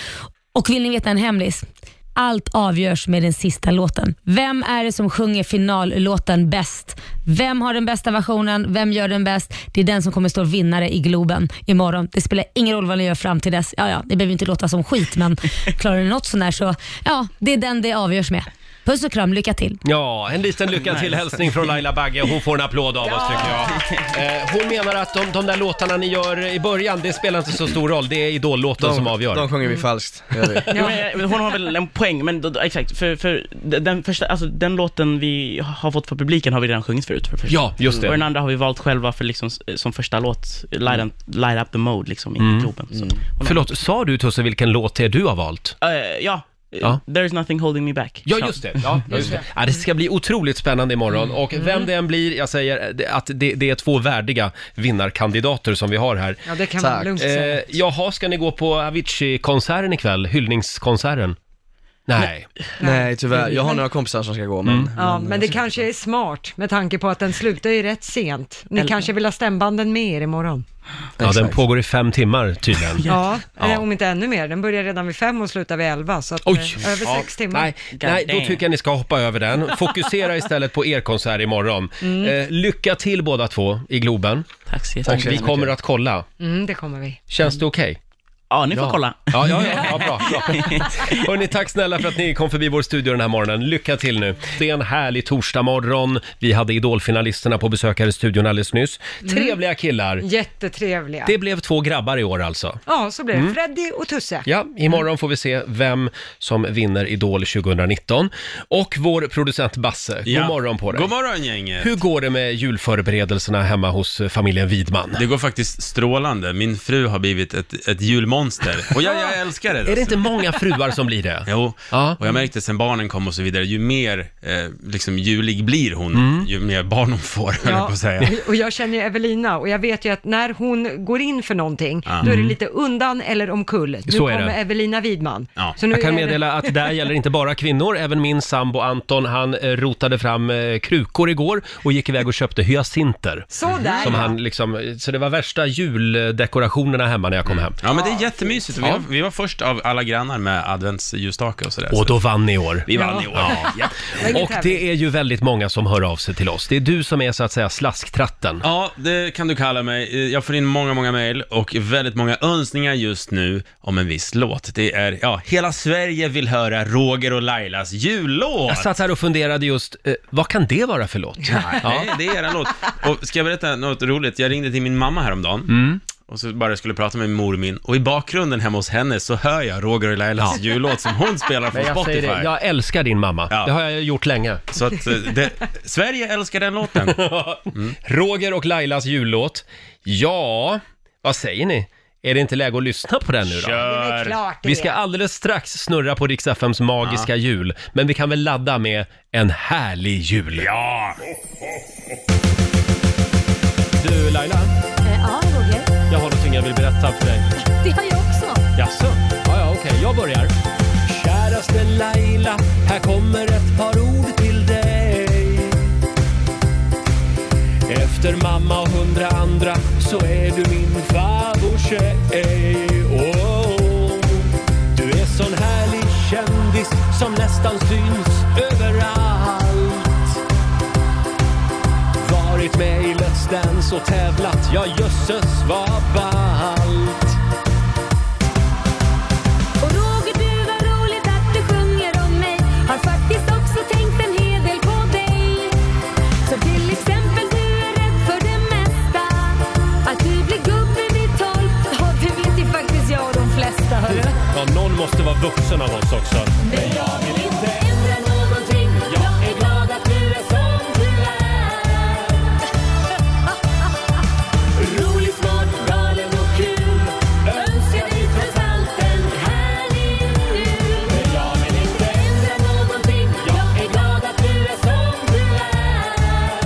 Speaker 11: Och vill ni veta en hemlis? Allt avgörs med den sista låten. Vem är det som sjunger finallåten bäst? Vem har den bästa versionen? Vem gör den bäst? Det är den som kommer stå vinnare i Globen imorgon. Det spelar ingen roll vad ni gör fram till dess. Ja, ja, det behöver ju inte låta som skit, men klarar ni något sån här så, ja, det är den det avgörs med. Puss och kram, lycka till.
Speaker 1: Ja, en liten lycka till hälsning från Laila Bagge. Hon får en applåd av oss tycker jag. Eh, hon menar att de, de där låtarna ni gör i början, det spelar inte så stor roll. Det är idollåten som avgör.
Speaker 8: de sjunger vi falskt. det Gör vi.
Speaker 9: Jo, men, eh, hon har väl en poäng, men då, då, exakt. För, för den, första, alltså, den låten vi har fått för publiken har vi redan sjungit förut. För första.
Speaker 1: Ja, just det.
Speaker 9: Och den andra har vi valt själva för liksom, s- som första låt, Light, up, light up the mode liksom, i Globen.
Speaker 8: Mm.
Speaker 9: Så. hon har-
Speaker 1: Mm. Förlåt, sa du Tusse vilken låt det är du har valt?
Speaker 9: Eh, ja,
Speaker 1: Ja.
Speaker 9: There's nothing holding me back.
Speaker 1: Ja, just det. Ja, just det. Ja, det ska bli otroligt spännande imorgon och vem det än blir, jag säger eh, att det, det är två värdiga vinnarkandidater som vi har här.
Speaker 2: Ja, det kan
Speaker 8: Tack.
Speaker 2: man lugnt säga.
Speaker 1: Eh, jaha, ska ni gå på Avicii-konserten ikväll? Hyllningskonserten? Nej.
Speaker 8: Nej tyvärr, jag har några kompisar som ska gå men...
Speaker 9: Mm.
Speaker 2: Ja, men det kanske är smart med tanke på att den slutar ju rätt sent. Ni
Speaker 9: Eller-
Speaker 2: kanske vill ha stämbanden med er imorgon?
Speaker 1: Ja, den pågår i fem timmar tydligen.
Speaker 2: Ja, eller om inte ännu mer. Den börjar redan vid fem och slutar vid elva, så att,
Speaker 1: Oj!
Speaker 2: eh, över
Speaker 1: Ja,
Speaker 2: sex timmar.
Speaker 1: Nej, nej, då
Speaker 9: damn.
Speaker 1: tycker jag ni ska hoppa över den. Fokusera istället på er konsert imorgon. Eh, lycka till båda två i Globen.
Speaker 9: Tack så
Speaker 1: Och
Speaker 9: jättemycket.
Speaker 1: vi kommer att kolla.
Speaker 2: Mm, det kommer vi.
Speaker 1: Känns det okej?
Speaker 9: Ja, ni får kolla.
Speaker 1: Ja, ja, ja, ja bra. bra. Hörrni, tack snälla för att ni kom förbi vår studio den här morgonen. Lycka till nu. Det är en härlig torsdagmorgon. Vi hade idolfinalisterna på besök här i studion alldeles nyss.
Speaker 9: Mm.
Speaker 1: Trevliga killar.
Speaker 2: Jättetrevliga.
Speaker 1: Det blev två grabbar i år alltså.
Speaker 2: Ja, så blir det. Freddy och Tusse.
Speaker 1: Ja,
Speaker 9: Mm.
Speaker 1: imorgon får vi se vem som vinner Idol 2019. Och vår producent Basse, god morgon på dig.
Speaker 12: God morgon gänget!
Speaker 1: Hur går det med julförberedelserna hemma hos eh, familjen Widman?
Speaker 12: Det går faktiskt strålande. Min fru har blivit ett, ett julmonster. Och jag, jag älskar det.
Speaker 1: Är det inte många fruar som blir det?
Speaker 12: Jo,
Speaker 1: Ja.
Speaker 12: och jag märkte sen barnen kom och så vidare, ju mer eh, liksom, julig blir hon,
Speaker 8: Mm.
Speaker 12: ju mer barn hon får, höll jag på att säga.
Speaker 2: och- och jag känner ju Evelina och jag vet ju att när hon går in för någonting, då är det lite undan eller omkull. Nu
Speaker 1: Mm. Så är
Speaker 2: kommer
Speaker 1: det.
Speaker 2: Evelina Widman.
Speaker 12: Ja.
Speaker 2: Så nu
Speaker 1: Jag kan
Speaker 2: är det-
Speaker 1: meddela att där gäller inte bara kvinnor. Även min sambo Anton, han eh, rotade fram eh, krukor igår och gick iväg och köpte hyacinter.
Speaker 2: Sådär
Speaker 1: Som
Speaker 2: ja.
Speaker 1: han liksom, så det var värsta juldekorationerna hemma när jag kom hem.
Speaker 12: Ja, men det är jättemysigt. Och Vi, var, vi var först av alla grannar med adventsljusstake och sådär.
Speaker 1: Och
Speaker 12: så
Speaker 1: då vann ni i år.
Speaker 12: vi vann i år. Ja. Ja.
Speaker 2: ingen
Speaker 1: Och det
Speaker 2: tävling.
Speaker 1: är ju väldigt många som hör av sig till oss. Det är du som är så att säga slasktratten.
Speaker 12: det kan du kalla mig. Eh, Jag får in många, många mejl och väldigt många önskningar just nu om en viss låt. Det är, ja, hela Sverige vill höra Roger och Lailas jullåt.
Speaker 1: Jag satt här och funderade just, eh, vad kan det vara för låt?
Speaker 12: Nej, det är eran låt. Och ska jag berätta något roligt? Jag ringde till min mamma häromdagen.
Speaker 1: Mm.
Speaker 12: Och så bara skulle prata med mormin. Och i bakgrunden hemma hos henne så hör jag Roger och Lailas jullåt som hon spelar från
Speaker 1: Men jag
Speaker 12: Spotify.
Speaker 1: säger det, jag älskar din mamma.
Speaker 12: Ja.
Speaker 1: Det har jag gjort länge.
Speaker 12: Så att eh, det, Sverige älskar den låten.
Speaker 1: Roger och Lailas jullåt. Ja, vad säger ni? Är det inte läge att lyssna på den nu då?
Speaker 2: Det är väl klart det.
Speaker 1: Vi ska alldeles strax snurra på Rix FMs magiska jul, men vi kan väl ladda med en härlig jul. Ja! Du Laila,
Speaker 11: Eh, Ja, Roger.
Speaker 1: jag har någonting jag vill berätta för dig.
Speaker 11: Det har jag också.
Speaker 1: Jaså? Ja, ja, okej, jag börjar. Kära
Speaker 13: käraste Laila, här kommer ett par ord till dig. Efter mamma och hundra andra så är du min favorittjej. Oh, du är sån härlig kändis som nästan syns överallt. Varit med i Let's Dance och tävlat, ja jösses vad ballt.
Speaker 14: Och Roger, du var roligt att du sjunger om mig. Har faktiskt också tänkt en hel del på dig. Som till exempel du är rädd för det mesta. Att du blir gubbe vid tolv. Ja, det vet ju faktiskt jag och de flesta, hörru.
Speaker 13: Ja, någon måste vara vuxen av oss också.
Speaker 14: Men jag vill inte ändra någonting. Jag är glad att du är som du är. Rolig, smart, galen och kul. Önskar dig trots allt en härlig jul. Men jag vill inte ändra någonting. Jag är glad att du är som du är.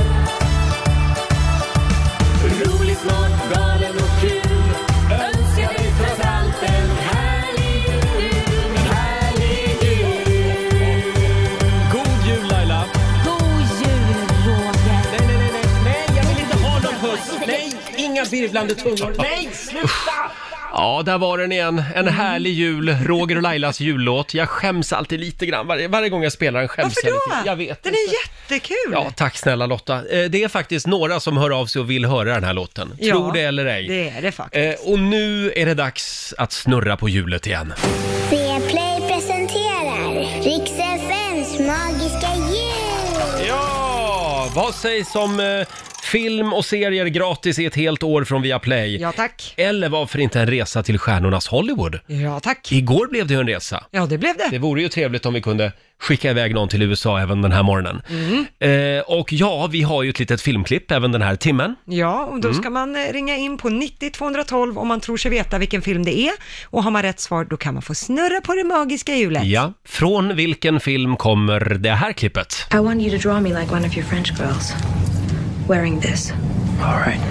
Speaker 14: Rolig, smart, galen och kul. Önskar dig trots allt en härlig jul. En härlig jul.
Speaker 13: God jul Laila!
Speaker 14: God jul, Roger.
Speaker 13: Nej, nej, nej, nej, nej, jag vill inte ha någon puss! Nej, inga virvlande tungor! Nej, sluta!
Speaker 1: Ja, där var den igen. En
Speaker 2: Mm.
Speaker 1: härlig jul, Roger och Lailas jullåt. Jag skäms alltid lite grann. Varje, varje gång jag spelar den skäms jag lite.
Speaker 2: Varför då?
Speaker 1: Jag vet
Speaker 2: Den är jättekul!
Speaker 1: Ja, tack snälla Lotta. Eh, Det är faktiskt några som hör av sig och vill höra den här låten.
Speaker 2: Ja,
Speaker 1: Tror det eller ej.
Speaker 2: Det är det faktiskt.
Speaker 1: Eh, Och nu är det dags att snurra på hjulet igen.
Speaker 15: Play presenterar Rix FMs magiska jul!
Speaker 1: Ja, vad sägs om eh, film och serier gratis i ett helt år från Viaplay?
Speaker 2: Ja, tack.
Speaker 1: Eller varför inte en resa till stjärnornas Hollywood?
Speaker 2: Ja, tack.
Speaker 1: Igår blev det ju en resa.
Speaker 2: Ja, det blev det.
Speaker 1: Det vore ju trevligt om vi kunde skicka iväg någon till USA även den här morgonen.
Speaker 2: Mm.
Speaker 1: Eh, och ja, vi har ju ett litet filmklipp även den här timmen.
Speaker 2: Ja, och då
Speaker 1: Mm.
Speaker 2: ska man eh, ringa in på 90 212 om man tror sig veta vilken film det är. Och har man rätt svar, då kan man få snurra på det magiska hjulet.
Speaker 1: Ja, från vilken film kommer det här klippet?
Speaker 16: I want you to draw me like one of your French girls. Wearing this. All right.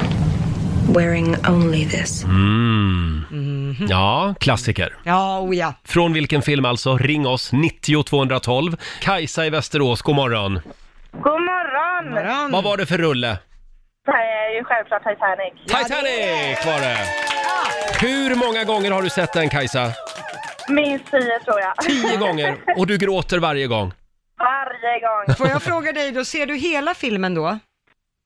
Speaker 16: Wearing only this.
Speaker 1: Mm. Ja, klassiker.
Speaker 2: Ja, oh ja.
Speaker 1: Från vilken film alltså? Ring oss, 90 212. Kajsa i Västerås, god morgon.
Speaker 17: God morgon! God morgon.
Speaker 1: Vad var det för rulle?
Speaker 17: Det här är ju självklart Titanic.
Speaker 1: Titanic var det! Hur många gånger har du sett den Kajsa?
Speaker 17: Minst tio tror jag.
Speaker 1: Tio gånger! Och du gråter varje gång.
Speaker 17: Varje gång.
Speaker 2: Får jag fråga dig då, ser du hela filmen då?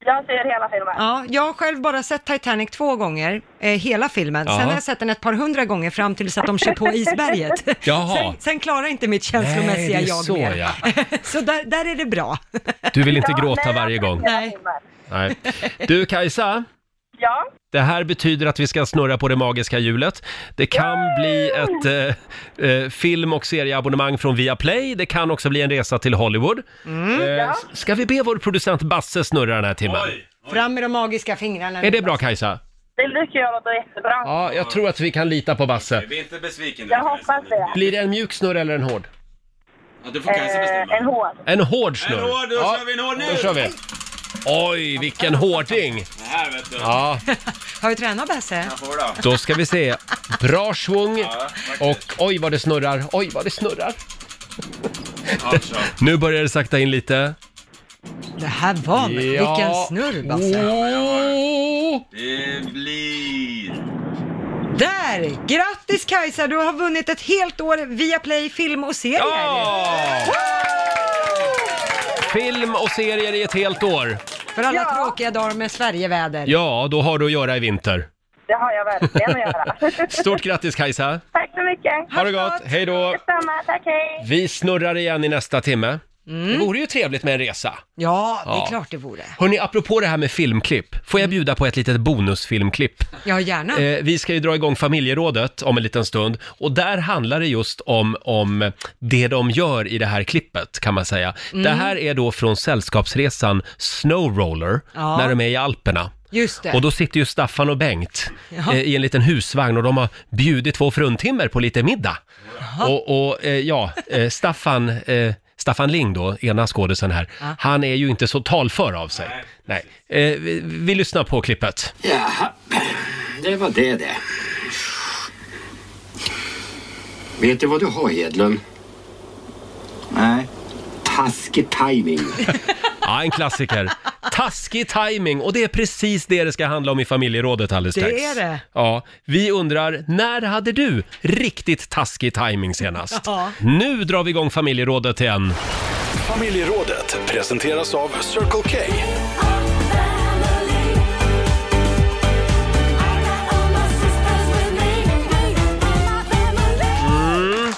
Speaker 17: Jag ser hela filmen.
Speaker 2: Ja, jag har själv bara sett Titanic två gånger, eh, hela filmen.
Speaker 1: Ja.
Speaker 2: Sen har jag sett den ett par hundra gånger fram tills att de kör på isberget.
Speaker 1: Jaha.
Speaker 2: Sen, sen klarar inte mitt känslomässiga
Speaker 1: Nej, det är
Speaker 2: jag
Speaker 1: så,
Speaker 2: mer.
Speaker 1: ja.
Speaker 2: så där, där är det bra.
Speaker 1: Du vill inte gråta varje gång.
Speaker 2: Nej.
Speaker 1: Nej. Du Kajsa,
Speaker 17: Ja,
Speaker 1: det här betyder att vi ska snurra på det magiska hjulet. Det kan bli ett eh, eh, film och serieabonnemang från Viaplay. Det kan också bli en resa till Hollywood. Eh, s- Ska vi be vår producent Basse snurra den här timmen?
Speaker 2: Fram med de magiska fingrarna.
Speaker 1: Är det bra Kajsa?
Speaker 17: det tycker jag låter jättebra.
Speaker 1: Ja, jag tror att vi kan lita på Basse.
Speaker 12: Vi är inte besviken
Speaker 17: Jag hoppas det.
Speaker 1: Blir det en mjuk snurr eller en hård?
Speaker 12: Du
Speaker 17: Eh, en hård.
Speaker 1: En hård snurr.
Speaker 12: En hård, då
Speaker 1: Ja,
Speaker 12: kör vi en hård nu!
Speaker 1: Då kör vi. Oj, vilken hårding!
Speaker 12: Det här vet du.
Speaker 1: Ja,
Speaker 2: Har du tränat Basse?
Speaker 1: då ska vi se. Bra svung och oj vad det snurrar, oj vad det snurrar. Nu börjar det sakta in lite.
Speaker 2: Det här var mig.
Speaker 1: Ja. Oh.
Speaker 2: Vilken snurr Basse.
Speaker 12: Det blir...
Speaker 2: Där! Grattis Kajsa, du har vunnit ett helt år via Play film och serier.
Speaker 1: Film och serier i ett helt år.
Speaker 2: För alla tråkiga dagar med Sverigeväder.
Speaker 1: Ja, då har du att göra i vinter.
Speaker 17: Det har jag verkligen att göra.
Speaker 1: Stort grattis Kajsa!
Speaker 17: Tack så mycket.
Speaker 1: Ha det gott, hej då!
Speaker 17: Detsamma, tack hej.
Speaker 1: Vi snurrar igen i nästa timme.
Speaker 2: Mm.
Speaker 1: Det vore ju trevligt med en resa.
Speaker 2: Ja, det är
Speaker 1: Ja.
Speaker 2: klart det vore.
Speaker 1: Hörni, apropå det här med filmklipp, får jag bjuda på ett litet bonusfilmklipp?
Speaker 2: Ja, gärna.
Speaker 1: Eh, vi ska ju dra igång familjerådet om en liten stund och där handlar det just om, om det de gör i det här klippet kan man säga.
Speaker 2: Mm.
Speaker 1: Det här är då från sällskapsresan Snowroller
Speaker 2: Ja.
Speaker 1: när de är i Alperna.
Speaker 2: Just det.
Speaker 1: Och då sitter ju Staffan och Bengt
Speaker 2: Ja.
Speaker 1: eh, i en liten husvagn och de har bjudit två fruntimmer på lite middag. Och, och eh, ja, eh, Staffan, eh, Staffan Ling då, ena skådisen här, han är ju inte så talför av sig. Nej. Eh, vi, vi lyssnar på klippet.
Speaker 18: Ja, det var det det. Vet du vad du har, Edlund? Nej. Taskig timing.
Speaker 1: Ja, en klassiker. Taskig timing och det är precis det det ska handla om i familjerådet alldeles
Speaker 2: Det
Speaker 1: strax.
Speaker 2: är det.
Speaker 1: Ja, vi undrar, när hade du riktigt taskig timing senast?
Speaker 2: Ja.
Speaker 1: Nu drar vi igång familjerådet igen.
Speaker 3: Familjerådet presenteras av Circle K.
Speaker 1: Mm.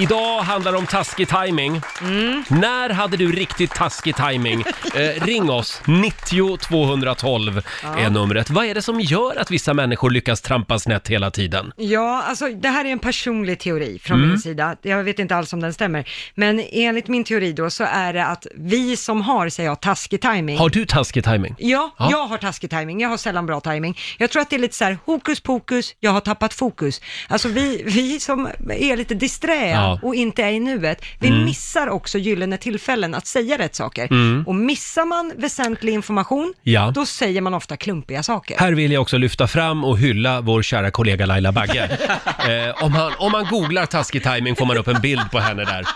Speaker 1: Idag handlar det om taskig timing.
Speaker 2: Mm.
Speaker 1: När hade du riktigt taskig timing? Eh, ring oss, 90 212 är
Speaker 2: Ja.
Speaker 1: numret. Vad är det som gör att vissa människor lyckas trampa snett hela tiden?
Speaker 2: Ja, alltså det här är en personlig teori från
Speaker 1: Mm.
Speaker 2: min sida. Jag vet inte alls om den stämmer. Men enligt min teori då så är det att vi som har, säger jag, taskig timing.
Speaker 1: Har du taskig timing?
Speaker 2: Ja,
Speaker 1: Ja.
Speaker 2: jag har taskig timing. Jag har sällan bra timing. Jag tror att det är lite så här hokus pokus, jag har tappat fokus. Alltså vi, vi som är lite disträ
Speaker 14: Ja.
Speaker 2: och inte är i nuet, vi
Speaker 14: Mm.
Speaker 2: missar också gyllene tillfällen att säga rätt saker.
Speaker 1: Mm.
Speaker 2: Och missar man väsentlig information,
Speaker 1: Ja.
Speaker 2: då säger man ofta klumpiga saker.
Speaker 1: Här vill jag också lyfta fram och hylla vår kära kollega Laila Bagge. Eh, om, man, om man googlar taskig timing får man upp en bild på henne där.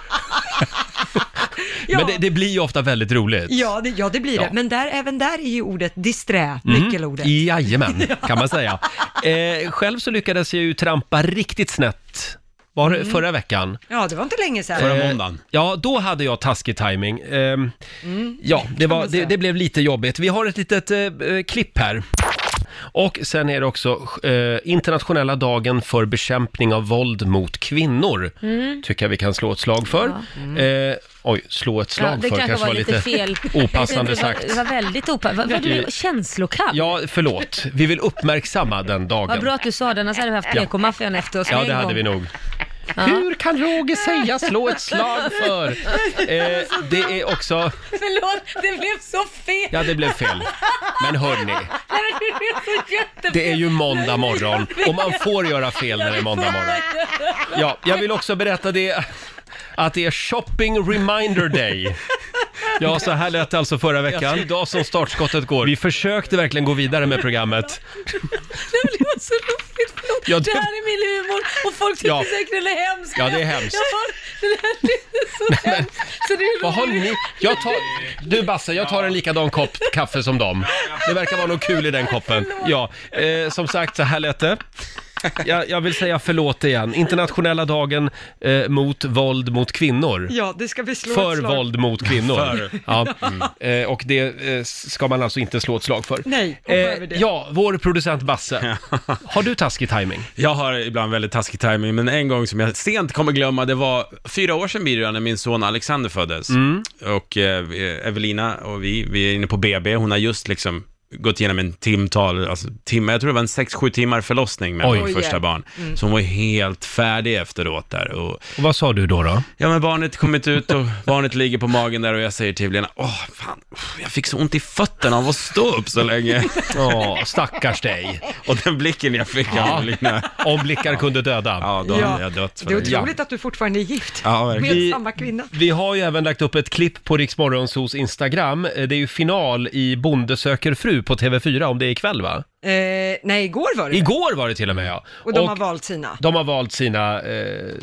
Speaker 1: Men det, det blir ju ofta väldigt roligt.
Speaker 2: Ja det, ja, det blir
Speaker 1: Ja.
Speaker 2: det. Men där, även där är ju ordet disträ
Speaker 1: Mm.
Speaker 2: nyckelordet.
Speaker 1: Jajamän, kan man säga. Eh, själv så lyckades jag ju trampa riktigt snett. Var det
Speaker 2: Mm.
Speaker 1: förra veckan?
Speaker 2: Ja, det var inte länge sedan.
Speaker 1: Eh, Ja, då hade jag taskig timing. Ehm,
Speaker 2: Mm.
Speaker 1: Ja, det, var, det, det blev lite jobbigt. Vi har ett litet eh, eh, klipp här. Och sen är det också eh, internationella dagen för bekämpning av våld mot kvinnor.
Speaker 11: Mm.
Speaker 1: Tycker jag vi kan slå ett slag för.
Speaker 11: Ja. Mm.
Speaker 1: Eh, oj, slå ett slag
Speaker 11: Ja, det
Speaker 1: för
Speaker 11: kanske var lite fel.
Speaker 1: opassande
Speaker 11: det var,
Speaker 1: sagt.
Speaker 11: Det var väldigt opassande. Var, var du
Speaker 1: Eh,
Speaker 11: känslokall?
Speaker 1: Ja, förlåt. Vi vill uppmärksamma den
Speaker 11: Vad
Speaker 1: dagen.
Speaker 11: bra att du sa det, annars hade vi haft
Speaker 1: Ja.
Speaker 11: PK-maffian efter oss
Speaker 1: Ja,
Speaker 11: en
Speaker 1: det hade
Speaker 11: gång.
Speaker 1: vi nog.
Speaker 11: Ja.
Speaker 1: Hur kan Roger säga slå ett slag för? Eh, det är också...
Speaker 7: Förlåt, det blev så fel!
Speaker 1: Ja, det blev fel. Men hörni,
Speaker 7: Nej, men det blev så jättefel!
Speaker 1: det är ju måndag morgon och man får göra fel när det är måndag morgon. Ja, jag vill också berätta det att det är shopping reminder day. Ja, så här lät det alltså förra veckan. Idag som startskottet går. Vi försökte verkligen gå vidare med programmet.
Speaker 7: Det var så roligt! Förlåt.
Speaker 1: Ja, det-
Speaker 7: det... här är min humor och folk tycker
Speaker 1: Ja.
Speaker 7: säkert den är hemsk.
Speaker 1: Ja, det är hemskt.
Speaker 7: Jag bara, det här är så hemskt. Så det är
Speaker 1: Vad har
Speaker 7: roligt.
Speaker 1: ni? Jag tar... Du Basse, jag tar en likadan kopp kaffe som dem. Det verkar vara något kul i den koppen. Ja, eh, som sagt, så här lät det. Jag, jag vill säga förlåt igen. Internationella dagen eh, mot våld mot kvinnor.
Speaker 2: Ja, det ska vi slå
Speaker 1: för
Speaker 2: ett slag.
Speaker 1: våld mot kvinnor.
Speaker 2: För.
Speaker 1: Ja. Eh, och det eh, ska man alltså inte slå ett slag för. Eh,
Speaker 2: Nej, hoppa över det.
Speaker 1: ja, vår producent Basse. Har du taskig timing?
Speaker 12: Jag har ibland väldigt taskig timing, men en gång som jag sent kommer glömma, det var fyra år sedan blir det ju när min son Alexander föddes.
Speaker 1: Mm.
Speaker 12: Och eh, Evelina och vi, vi är inne på BB, hon har just liksom gått igenom en timtal, alltså timme, jag tror det var en 6-7 timmar förlossning med
Speaker 1: Oj.
Speaker 12: vårt första
Speaker 1: Oj,
Speaker 12: barn.
Speaker 1: mm.
Speaker 12: Så hon var ju helt färdig efteråt där. Och,
Speaker 1: Och vad sa du då? då?
Speaker 12: Ja men barnet kommit ut och barnet ligger på magen där och jag säger till Lena, åh fan, jag fick så ont i fötterna av att stå upp så länge.
Speaker 1: Ja, stackars dig.
Speaker 12: Och den blicken jag fick av
Speaker 1: Ja.
Speaker 12: Evelina.
Speaker 1: Om blickar kunde döda.
Speaker 12: Ja, då hade jag dött. för
Speaker 2: Det är
Speaker 12: det.
Speaker 2: otroligt att du fortfarande är gift
Speaker 12: Ja,
Speaker 2: med
Speaker 1: verkligen. Vi-
Speaker 2: samma kvinna.
Speaker 1: Vi har ju även lagt upp ett klipp på Riksmorgonsos Instagram. Eh, Det är ju final i Bonde söker fru på TV4 om det är ikväll va?
Speaker 2: Eh, nej, igår var det
Speaker 1: Igår var det till och med ja.
Speaker 2: Och de har valt sina.
Speaker 1: de har valt sina, eh,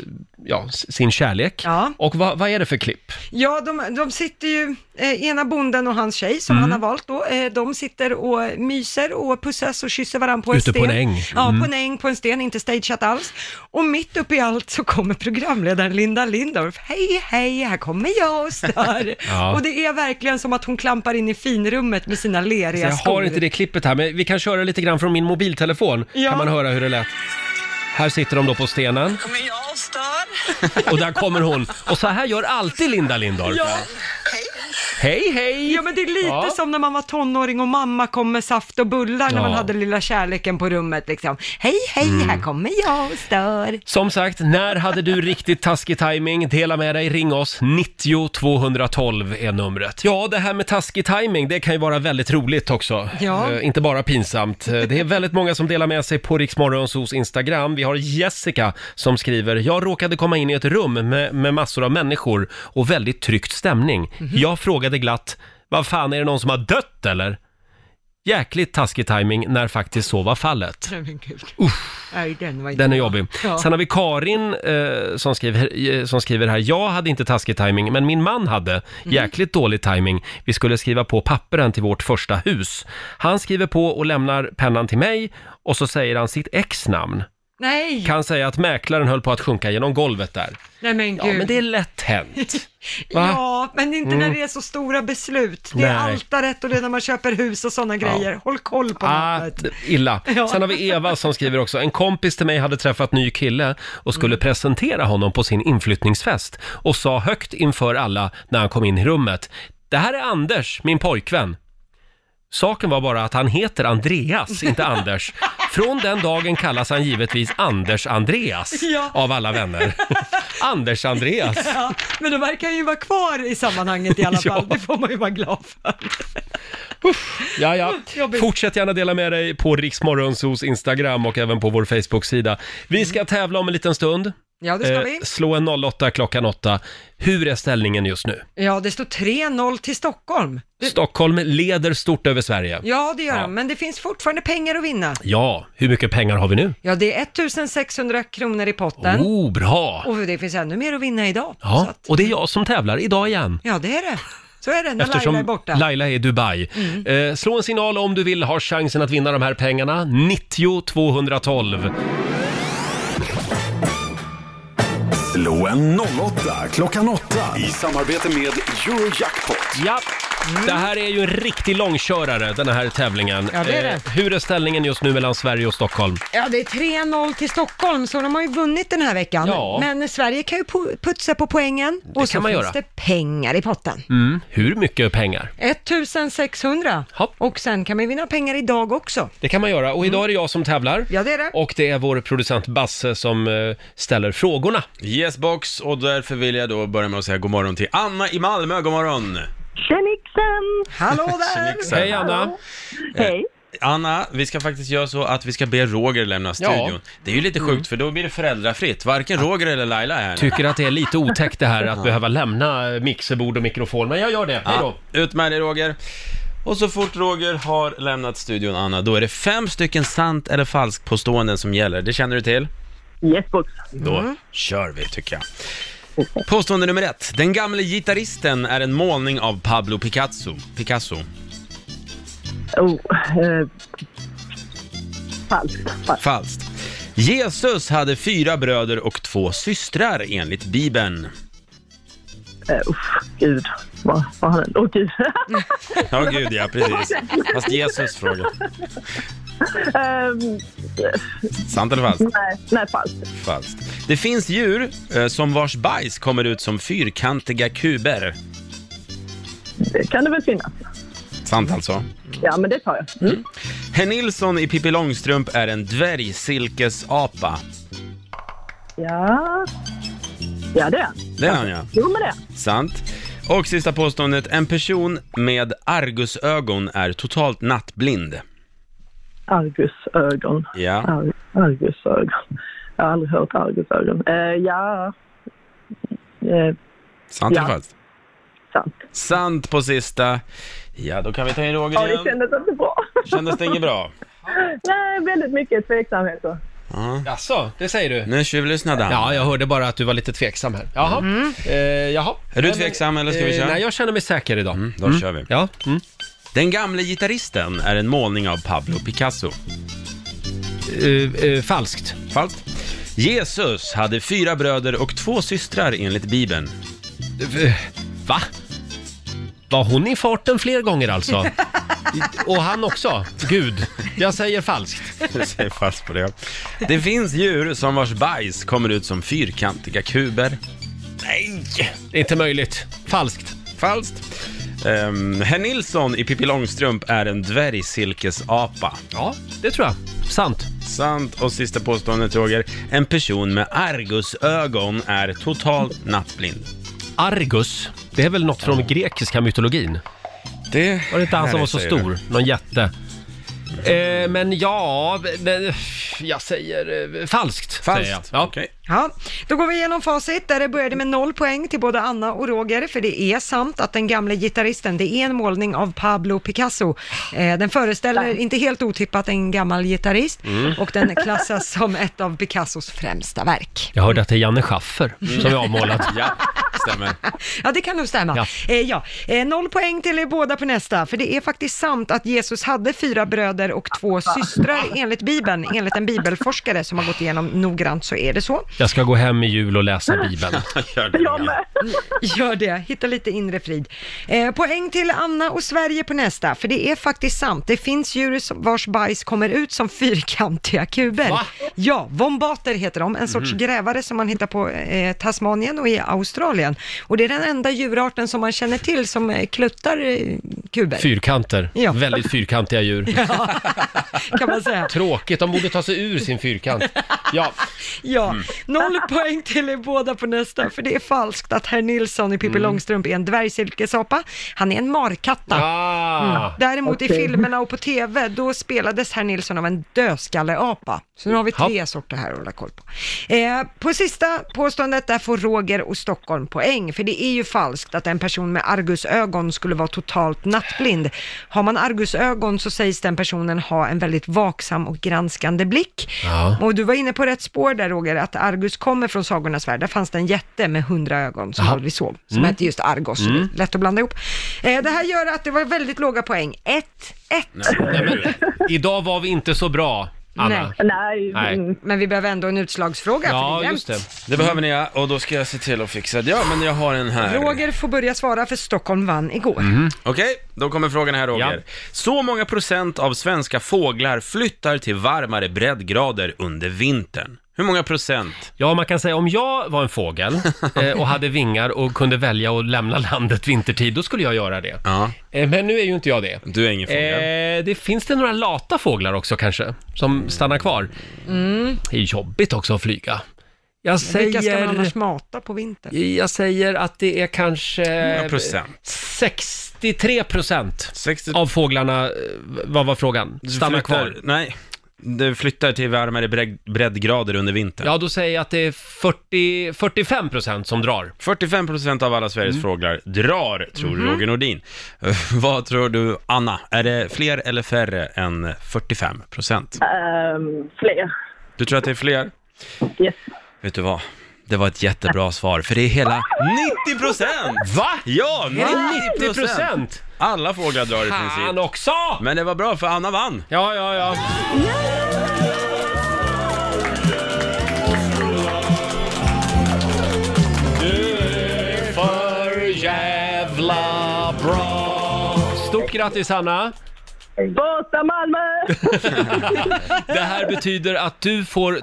Speaker 1: ja, s- sin kärlek. Och vad, vad är det för klipp?
Speaker 2: Ja, de, de sitter ju, eh, ena bonden och hans tjej som
Speaker 1: Mm.
Speaker 2: han har valt då, eh, de sitter och myser och pussas och kysser varandra på
Speaker 1: Ute
Speaker 2: en
Speaker 1: på
Speaker 2: sten.
Speaker 1: en äng.
Speaker 2: Ja,
Speaker 1: Mm.
Speaker 2: på en äng, på en sten, inte stageat alls. Och mitt uppe i allt så kommer programledaren Linda Lindorff, hej hej, här kommer jag och stör.
Speaker 1: Ja.
Speaker 2: Och det är verkligen som att hon klampar in i finrummet med sina
Speaker 1: Så
Speaker 2: leriga
Speaker 1: Alltså, jag har inte det klippet här, men vi kan köra lite grann från min mobiltelefon.
Speaker 2: Ja.
Speaker 1: Kan man höra hur det lät. Här sitter de då på stenen
Speaker 19: Men jag stör.
Speaker 1: och där kommer hon. Och så här gör alltid Linda Lindorff.
Speaker 2: Ja.
Speaker 1: Hej hej!
Speaker 2: Ja men det är lite
Speaker 1: Ja.
Speaker 2: som när man var tonåring och mamma kom med saft och bullar när
Speaker 1: Ja.
Speaker 2: man hade lilla kärleken på rummet liksom. Hej hej,
Speaker 1: Mm.
Speaker 2: här kommer jag och stör.
Speaker 1: Som sagt, när hade du riktigt taskig timing? Dela med dig, ring oss. 90 212 är numret. Ja, det här med taskig timing, det kan ju vara väldigt roligt också.
Speaker 2: Ja.
Speaker 1: Eh, inte bara pinsamt. Eh, Det är väldigt många som delar med sig på Riksmorgonsos Instagram. Vi har Jessica som skriver, jag råkade komma in i ett rum med, med massor av människor och väldigt tryckt stämning. Jag frågade glatt, vad fan är det någon som har dött eller? Jäkligt taskig timing när faktiskt så var fallet.
Speaker 2: Nej, men gud. Nej, den var inte
Speaker 1: Den är
Speaker 2: bra.
Speaker 1: jobbig.
Speaker 2: Ja.
Speaker 1: Sen har vi Karin eh, som, skriver, eh, som skriver här. Jag hade inte taskig timing, men min man hade
Speaker 2: Mm.
Speaker 1: jäkligt dålig timing. Vi skulle skriva på papperen till vårt första hus. Han skriver på och lämnar pennan till mig och så säger han sitt ex-namn.
Speaker 2: Nej.
Speaker 1: Kan säga att mäklaren höll på att sjunka genom golvet där.
Speaker 2: Nej men gud.
Speaker 1: Ja, men det är lätt hänt. Va?
Speaker 2: Ja, men inte när
Speaker 1: Mm.
Speaker 2: det är så stora beslut. Det är
Speaker 1: Nej.
Speaker 2: altaret och det är när man köper hus och sådana grejer. Håll koll på
Speaker 1: Ah,
Speaker 2: pappret.
Speaker 1: d- illa.
Speaker 2: Äh, Ja.
Speaker 1: Sen har vi Eva som skriver också. En kompis till mig hade träffat ny kille och
Speaker 2: Mm.
Speaker 1: skulle presentera honom på sin inflyttningsfest och sa högt inför alla när han kom in i rummet. Det här är Anders, min pojkvän. Saken var bara att han heter Andreas, inte Anders. Från den dagen kallas han givetvis Anders Andreas
Speaker 2: Ja.
Speaker 1: av alla vänner. Anders Andreas.
Speaker 2: Ja, men då verkar han ju vara kvar i sammanhanget i alla
Speaker 1: Ja.
Speaker 2: fall. Det får man ju vara glad för.
Speaker 1: Ja, ja.
Speaker 2: Jobbigt.
Speaker 1: Fortsätt gärna dela med dig på Riksmorgonsos Instagram och även på vår Facebook-sida. Vi ska tävla om en liten stund.
Speaker 2: Ja, det ska
Speaker 1: Eh,
Speaker 2: vi.
Speaker 1: Slå en 08 klockan 8. Hur är ställningen just nu?
Speaker 2: Ja, det står 3-0 till Stockholm.
Speaker 1: Stockholm leder stort över Sverige.
Speaker 2: Ja, det gör han, men det finns fortfarande pengar att vinna.
Speaker 1: Ja, hur mycket pengar har vi nu?
Speaker 2: Ja, det är 1600 kronor i potten.
Speaker 1: Oh, bra!
Speaker 2: Och det finns ännu mer att vinna idag. Så
Speaker 1: Ja,
Speaker 2: att,
Speaker 1: och det är jag som tävlar idag igen.
Speaker 2: ja, det är det. Så är det när
Speaker 1: Eftersom
Speaker 2: Laila är borta. Mm.
Speaker 1: Laila är i Dubai. Eh, slå en signal om du vill ha chansen att vinna de här pengarna. 90 212.
Speaker 3: Slå en 08 klockan 8 i samarbete med Eurojackpot.
Speaker 1: Ja, det här är ju en riktig långkörare, den här tävlingen.
Speaker 2: Mm. Ja, det är det.
Speaker 1: Eh, hur är ställningen just nu mellan Sverige och Stockholm?
Speaker 2: Ja, det är 3-0 till Stockholm, så de har ju vunnit den här veckan.
Speaker 1: Ja.
Speaker 2: Men Sverige kan ju pu- putsa på poängen och
Speaker 1: kan
Speaker 2: så
Speaker 1: man
Speaker 2: finns
Speaker 1: göra.
Speaker 2: det pengar i potten.
Speaker 1: Mm. Hur mycket pengar?
Speaker 2: 1600 och sen kan man ju vinna pengar idag också.
Speaker 1: Det kan man göra. Och idag är det jag som tävlar.
Speaker 2: Mm. Ja, det är det.
Speaker 1: Och det är vår producent Basse som eh, ställer frågorna.
Speaker 12: Yes box, och därför vill jag då börja med att säga god morgon till Anna i Malmö. God morgon!
Speaker 17: Tjenixen!
Speaker 2: Hallå
Speaker 12: Tjenixen. Hej, Anna.
Speaker 17: Hallå.
Speaker 1: Eh.
Speaker 17: Hej!
Speaker 12: Anna, vi ska faktiskt göra så att vi ska be Roger lämna studion. Det är ju lite sjukt för då blir det föräldrafritt. Varken Roger eller Laila är här nu.
Speaker 1: Tycker att det är lite otäckt det här att behöva lämna eh, mixerbord och mikrofon, men jag gör det. Hej då.
Speaker 12: Ja, ut med dig Roger. Och så fort Roger har lämnat studion, Anna, då är det fem stycken sant eller falskt påståenden som gäller. Det känner du till?
Speaker 10: Yes, box.
Speaker 12: Då kör vi, tycker jag. Påstående nummer ett. Den gamle gitarristen är en målning av Pablo Picasso. Picasso.
Speaker 10: Oh, eh, falskt. falskt.
Speaker 12: Falskt. Jesus hade fyra bröder och två systrar enligt Bibeln.
Speaker 10: Eh, uff, gud. Vad vad har den? Åh, gud.
Speaker 12: Ja, gud ja, precis. Fast Jesus frågar.
Speaker 10: Ehm,
Speaker 12: Sant eller falskt?
Speaker 10: nej, nej, falskt.
Speaker 12: Falskt. Det finns djur eh, som vars bajs kommer ut som fyrkantiga kuber.
Speaker 10: Det kan det väl finnas.
Speaker 12: Sant alltså.
Speaker 10: Ja, men det tar jag. Mm.
Speaker 12: Herr Nilsson i Pippi Långstrump är en dvärgsilkesapa.
Speaker 10: Ja. ja, det är han.
Speaker 12: Det är han ja.
Speaker 10: Jo, men det är han.
Speaker 12: Sant. Och sista påståendet. En person med argusögon är totalt nattblind.
Speaker 10: Argusögon.
Speaker 12: Ja.
Speaker 10: Ar- argusögon. Jag har aldrig hört argusögon. Eh, ja. Eh,
Speaker 12: Sant eller
Speaker 10: Ja.
Speaker 12: falskt? Sant. Sant på sista. Ja, då kan vi ta in
Speaker 10: ja,
Speaker 12: Roger
Speaker 10: det
Speaker 12: igen.
Speaker 10: kändes inte bra.
Speaker 12: Kändes det inget bra?
Speaker 10: Nej, väldigt mycket tveksamheter.
Speaker 12: Ja.
Speaker 1: Jaså, det säger du?
Speaker 12: Nu tjuvlyssnade han.
Speaker 1: Ja, jag hörde bara att du var lite tveksam här. Jaha.
Speaker 2: Mm.
Speaker 1: Eh, jaha.
Speaker 12: Är du
Speaker 1: Nej, men,
Speaker 12: tveksam eller ska vi
Speaker 1: eh,
Speaker 12: köra? Mm.
Speaker 1: Nej, jag känner mig säker idag.
Speaker 12: Då kör vi.
Speaker 1: Ja. Mm.
Speaker 12: Den gamle gitarristen är en målning av Pablo Picasso.
Speaker 1: Eh, falskt.
Speaker 12: Falskt. Jesus hade fyra bröder och två systrar enligt Bibeln.
Speaker 1: Eh, Va? Var hon i farten fler gånger alltså? Och han också? Gud, jag säger falskt.
Speaker 12: Du säger fast på det. Det finns djur som vars bajs kommer ut som fyrkantiga kuber.
Speaker 1: Nej, det är inte möjligt. Falskt.
Speaker 12: Falskt. Um, Herr Nilsson i Pippi Långstrump är en dvärgsilkesapa.
Speaker 1: Ja, det tror jag. Sant.
Speaker 12: Sant. Och sista påståendet, Roger. En person med argusögon är totalt nattblind.
Speaker 1: Argus, det är väl något från grekiska mytologin?
Speaker 12: Det
Speaker 1: var det inte han
Speaker 12: Nej,
Speaker 1: som var så
Speaker 12: säger du.
Speaker 1: stor? Någon jätte? Eh, men ja, det- jag säger eh, falskt.
Speaker 12: Falskt.
Speaker 1: Säger jag. Ja.
Speaker 12: Okej.
Speaker 2: Ja, då går vi igenom facit där det började med noll poäng till både Anna och Roger, för det är sant att den gamle gitarristen, det är en målning av Pablo Picasso. Eh, den föreställer, inte helt otippat, en gammal gitarrist
Speaker 1: Mm.
Speaker 2: och den klassas som ett av Picassos främsta verk.
Speaker 1: Jag hörde att det är Janne Schaffer som jag har målat.
Speaker 12: Ja, stämmer.
Speaker 2: Ja, det kan nog stämma. Eh, ja. Eh, noll poäng till er båda på nästa, för det är faktiskt sant att Jesus hade fyra bröder och två systrar enligt Bibeln. Enligt en bibelforskare som har gått igenom noggrant så är det så.
Speaker 1: Jag ska gå hem i jul och läsa Bibeln.
Speaker 2: Gör det, hitta lite inre frid. Eh, poäng till Anna och Sverige på nästa, för det är faktiskt sant. Det finns djur som- vars bajs kommer ut som fyrkantiga kuber. Ja, vombater heter de, en sorts
Speaker 11: Mhm.
Speaker 2: grävare som man hittar på eh, Tasmanien och i Australien. Och det är den enda djurarten som man känner till som eh, kluttar eh, kuber.
Speaker 1: Fyrkanter.
Speaker 2: Ja.
Speaker 1: Väldigt fyrkantiga djur.
Speaker 2: Ja, kan man säga.
Speaker 1: Tråkigt, de borde ta sig ur sin fyrkant. Ja.
Speaker 2: Ja,
Speaker 1: Mm.
Speaker 2: noll poäng till er båda på nästa, för det är falskt att herr Nilsson i Pippi
Speaker 1: Mm.
Speaker 2: Långstrump är en dvärgsilkesapa. Han är en markatta.
Speaker 1: Ah.
Speaker 2: Däremot i
Speaker 1: Okej.
Speaker 2: filmerna och på TV, då spelades herr Nilsson av en dödskalleapa. Så nu har vi tre
Speaker 1: Ja.
Speaker 2: sorter här att hålla koll på. Eh, på sista påståendet, där får Roger och Stockholm poäng, för det är ju falskt att en person med argusögon skulle vara totalt nattblind. Har man argusögon så sägs den personen ha en väldigt vaksam och granskande blick.
Speaker 14: Ja.
Speaker 2: Och du var inne på rätt spår där Roger, att Argus kommer från sagornas värld. Där fanns det en jätte med hundra ögon som
Speaker 14: Aha.
Speaker 2: aldrig såg, som
Speaker 14: Mm.
Speaker 2: hette just Argos. så det är
Speaker 14: Mm.
Speaker 2: Lätt att blanda ihop. Eh, det här gör att det var väldigt låga poäng. 1-1.
Speaker 1: Nej, men, idag var vi inte så bra, Anna.
Speaker 2: Nej.
Speaker 1: Nej.
Speaker 2: Men vi behöver ändå en utslagsfråga. för det är
Speaker 12: Ja,
Speaker 2: jämnt.
Speaker 12: just det. Det behöver ni ja, och då ska jag se till att fixa det. Ja, men jag har en här.
Speaker 2: Roger får börja svara för Stockholm vann igår.
Speaker 1: Mm.
Speaker 12: Okej, då kommer frågan här Roger. Så många procent av svenska fåglar flyttar till varmare breddgrader under vintern. Hur många procent?
Speaker 1: Ja, man kan säga om jag var en fågel eh, och hade vingar och kunde välja att lämna landet vintertid, då skulle jag göra det. Eh, Men nu är ju inte jag det.
Speaker 12: Du är ingen fågel.
Speaker 1: Eh, det finns det några lata fåglar också kanske, som stannar kvar.
Speaker 2: Mm.
Speaker 1: Det är jobbigt också att flyga. Jag
Speaker 2: Vilka ska man annars
Speaker 1: säger,
Speaker 2: mata på vintern?
Speaker 1: jag säger att det är kanske...
Speaker 12: Några procent.
Speaker 1: 63 procent av fåglarna, eh, vad var frågan? Stannar
Speaker 12: Flyttar-
Speaker 1: kvar.
Speaker 12: Nej, du flyttar till varmare breg- breddgrader under vintern.
Speaker 1: Ja, då säger jag att det är 40, 45 procent som drar.
Speaker 12: 45 procent av alla Sveriges fåglar drar, tror
Speaker 1: Mhm.
Speaker 12: Roger Nordin. Vad tror du, Anna? Är det fler eller färre än 45 procent?
Speaker 17: Ehm, fler.
Speaker 12: Du tror att det är fler?
Speaker 17: Yes.
Speaker 12: Vet du vad? Det var ett jättebra svar, för det är hela 90 procent!
Speaker 1: Va?
Speaker 12: Ja,
Speaker 1: Är det
Speaker 12: 90
Speaker 1: 90%?
Speaker 12: procent! Alla fåglar drar i
Speaker 1: Fan
Speaker 12: princip.
Speaker 1: också!
Speaker 12: Men det var bra, för Anna vann.
Speaker 1: Ja, ja, ja. För jävla bra! Stort grattis Hanna!
Speaker 17: Borta Malmö!
Speaker 1: Det här betyder att du får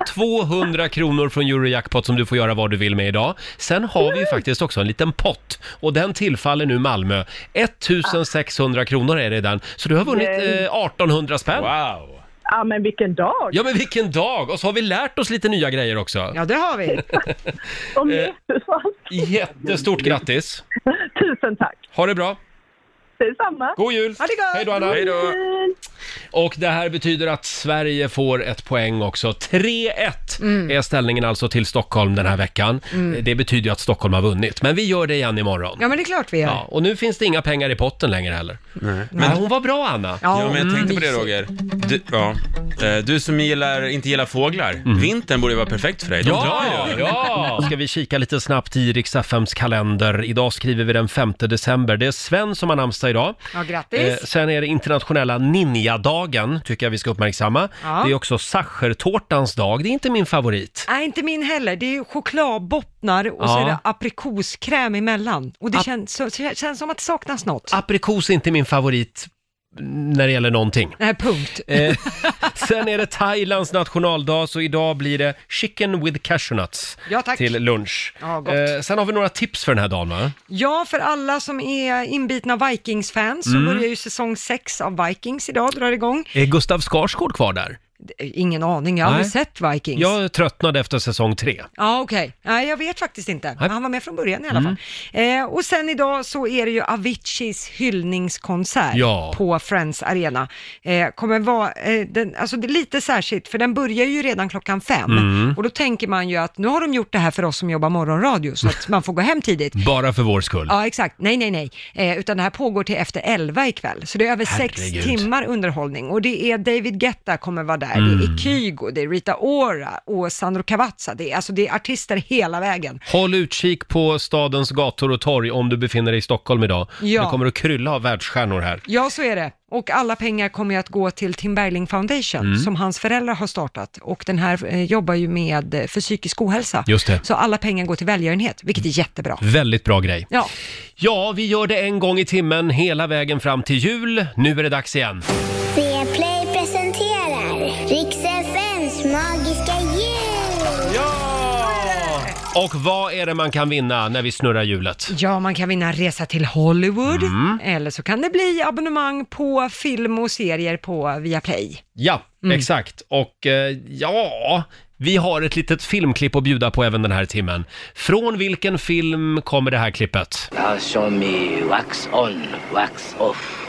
Speaker 1: 200 kronor från Eurojackpot som du får göra vad du vill med idag. Sen har vi ju faktiskt också en liten pott och den tillfaller nu Malmö. 1600 kronor är det i den, så du har vunnit eh,
Speaker 17: Yay.
Speaker 1: 1800 spänn.
Speaker 12: Wow!
Speaker 17: Ja, men vilken dag!
Speaker 1: Ja men vilken dag! Och så har vi lärt oss lite nya grejer också.
Speaker 2: Ja, det har vi.
Speaker 17: Om ni...
Speaker 1: Eh. Jättestort grattis!
Speaker 17: Tusen tack!
Speaker 1: Ha det bra!
Speaker 17: Detsamma!
Speaker 1: God jul!
Speaker 17: Ha det gott!
Speaker 1: Hej då, Anna. Hej då. Och det här betyder att Sverige får ett poäng också. 3-1 är ställningen alltså till Stockholm den här veckan.
Speaker 2: Mm.
Speaker 1: Det betyder ju att Stockholm har vunnit, men vi gör det igen imorgon.
Speaker 2: Ja, men det är klart vi gör.
Speaker 1: Ja, och nu finns det inga pengar i potten längre heller.
Speaker 12: Nej.
Speaker 1: Men hon var bra Anna.
Speaker 12: Ja, men jag tänkte på det Roger. Du, ja. Eh, du som gillar, inte gillar fåglar,
Speaker 16: Mhm.
Speaker 12: vintern borde ju vara perfekt för dig. De
Speaker 1: Ja,
Speaker 12: drar ju.
Speaker 1: ja! Ska vi kika lite snabbt i Rix FMs kalender. Idag skriver vi den 5 december. Det är Sven som har namnsdag idag.
Speaker 2: Ja,
Speaker 1: Eh,
Speaker 2: grattis.
Speaker 1: sen är det internationella ninjadagen, tycker jag vi ska uppmärksamma.
Speaker 2: Ja.
Speaker 1: Det är också sachertårtans dag. Det är inte min favorit.
Speaker 2: Nej, inte min heller. Det är ju chokladbottnar och så
Speaker 1: Ja.
Speaker 2: är det aprikoskräm emellan. Och det känns, så, så- känns som att det saknas något.
Speaker 1: Aprikos är inte min favorit när det gäller någonting.
Speaker 2: Nej, punkt.
Speaker 1: Eh, sen är det Thailands nationaldag, så idag blir det chicken with cashewnuts
Speaker 2: Ja, tack.
Speaker 1: till lunch. Eh,
Speaker 2: Ja, gott.
Speaker 1: sen har vi några tips för den här dagen, va?
Speaker 2: Ja, för alla som är inbitna Vikings-fans så
Speaker 1: Mm.
Speaker 2: börjar ju säsong 6 av Vikings idag, drar igång.
Speaker 1: Är Gustav Skarsgård kvar där?
Speaker 2: Ingen aning, jag har aldrig
Speaker 1: Nej.
Speaker 2: sett Vikings.
Speaker 1: Jag tröttnade efter säsong tre.
Speaker 2: Ja, okej. Nej, jag vet faktiskt inte.
Speaker 1: Nej.
Speaker 2: Han var med från början i alla
Speaker 1: Mm.
Speaker 2: fall. Eh, och sen idag så är det ju Aviciis hyllningskonsert
Speaker 14: Ja.
Speaker 2: på Friends Arena. Eh, kommer vara, eh, den, alltså det är lite särskilt, för den börjar ju redan klockan fem.
Speaker 1: Mm.
Speaker 2: Och då tänker man ju att nu har de gjort det här för oss som jobbar morgonradio, så att man får gå hem tidigt.
Speaker 1: Bara för vår skull.
Speaker 2: Ja, exakt. Nej, nej, nej. Eh, utan det här pågår till efter elva ikväll. Så det är över
Speaker 1: Herregud.
Speaker 2: sex timmar underhållning. Och det är David Guetta kommer vara där, det
Speaker 1: Mm.
Speaker 2: är Kygo, det är Rita Ora och Sandro Cavazza. Det är, alltså, det är artister hela vägen.
Speaker 1: Håll utkik på stadens gator och torg om du befinner dig i Stockholm idag.
Speaker 2: Ja.
Speaker 1: Det kommer att krylla av världsstjärnor här.
Speaker 2: Ja, så är det. Och alla pengar kommer ju att gå till Tim Bergling Foundation,
Speaker 1: Mm.
Speaker 2: som hans föräldrar har startat. Och den här eh, jobbar ju med eh, för psykisk ohälsa.
Speaker 1: Just det. Mm.
Speaker 2: Så alla pengar går till välgörenhet, vilket är jättebra.
Speaker 1: Väldigt bra grej.
Speaker 2: Ja.
Speaker 1: Ja, vi gör det en gång i timmen hela vägen fram till jul. Nu är det dags igen.
Speaker 15: Viaplay presenterar Riks FMs magiska jul!
Speaker 1: Ja! Och vad är det man kan vinna när vi snurrar hjulet?
Speaker 2: Ja, man kan vinna en resa till Hollywood,
Speaker 1: Mm.
Speaker 2: eller så kan det bli abonnemang på film och serier på Viaplay.
Speaker 1: Ja,
Speaker 2: Mm.
Speaker 1: exakt. Och eh, ja, vi har ett litet filmklipp att bjuda på även den här timmen. Från vilken film kommer det här klippet?
Speaker 19: Now show me wax on, wax off.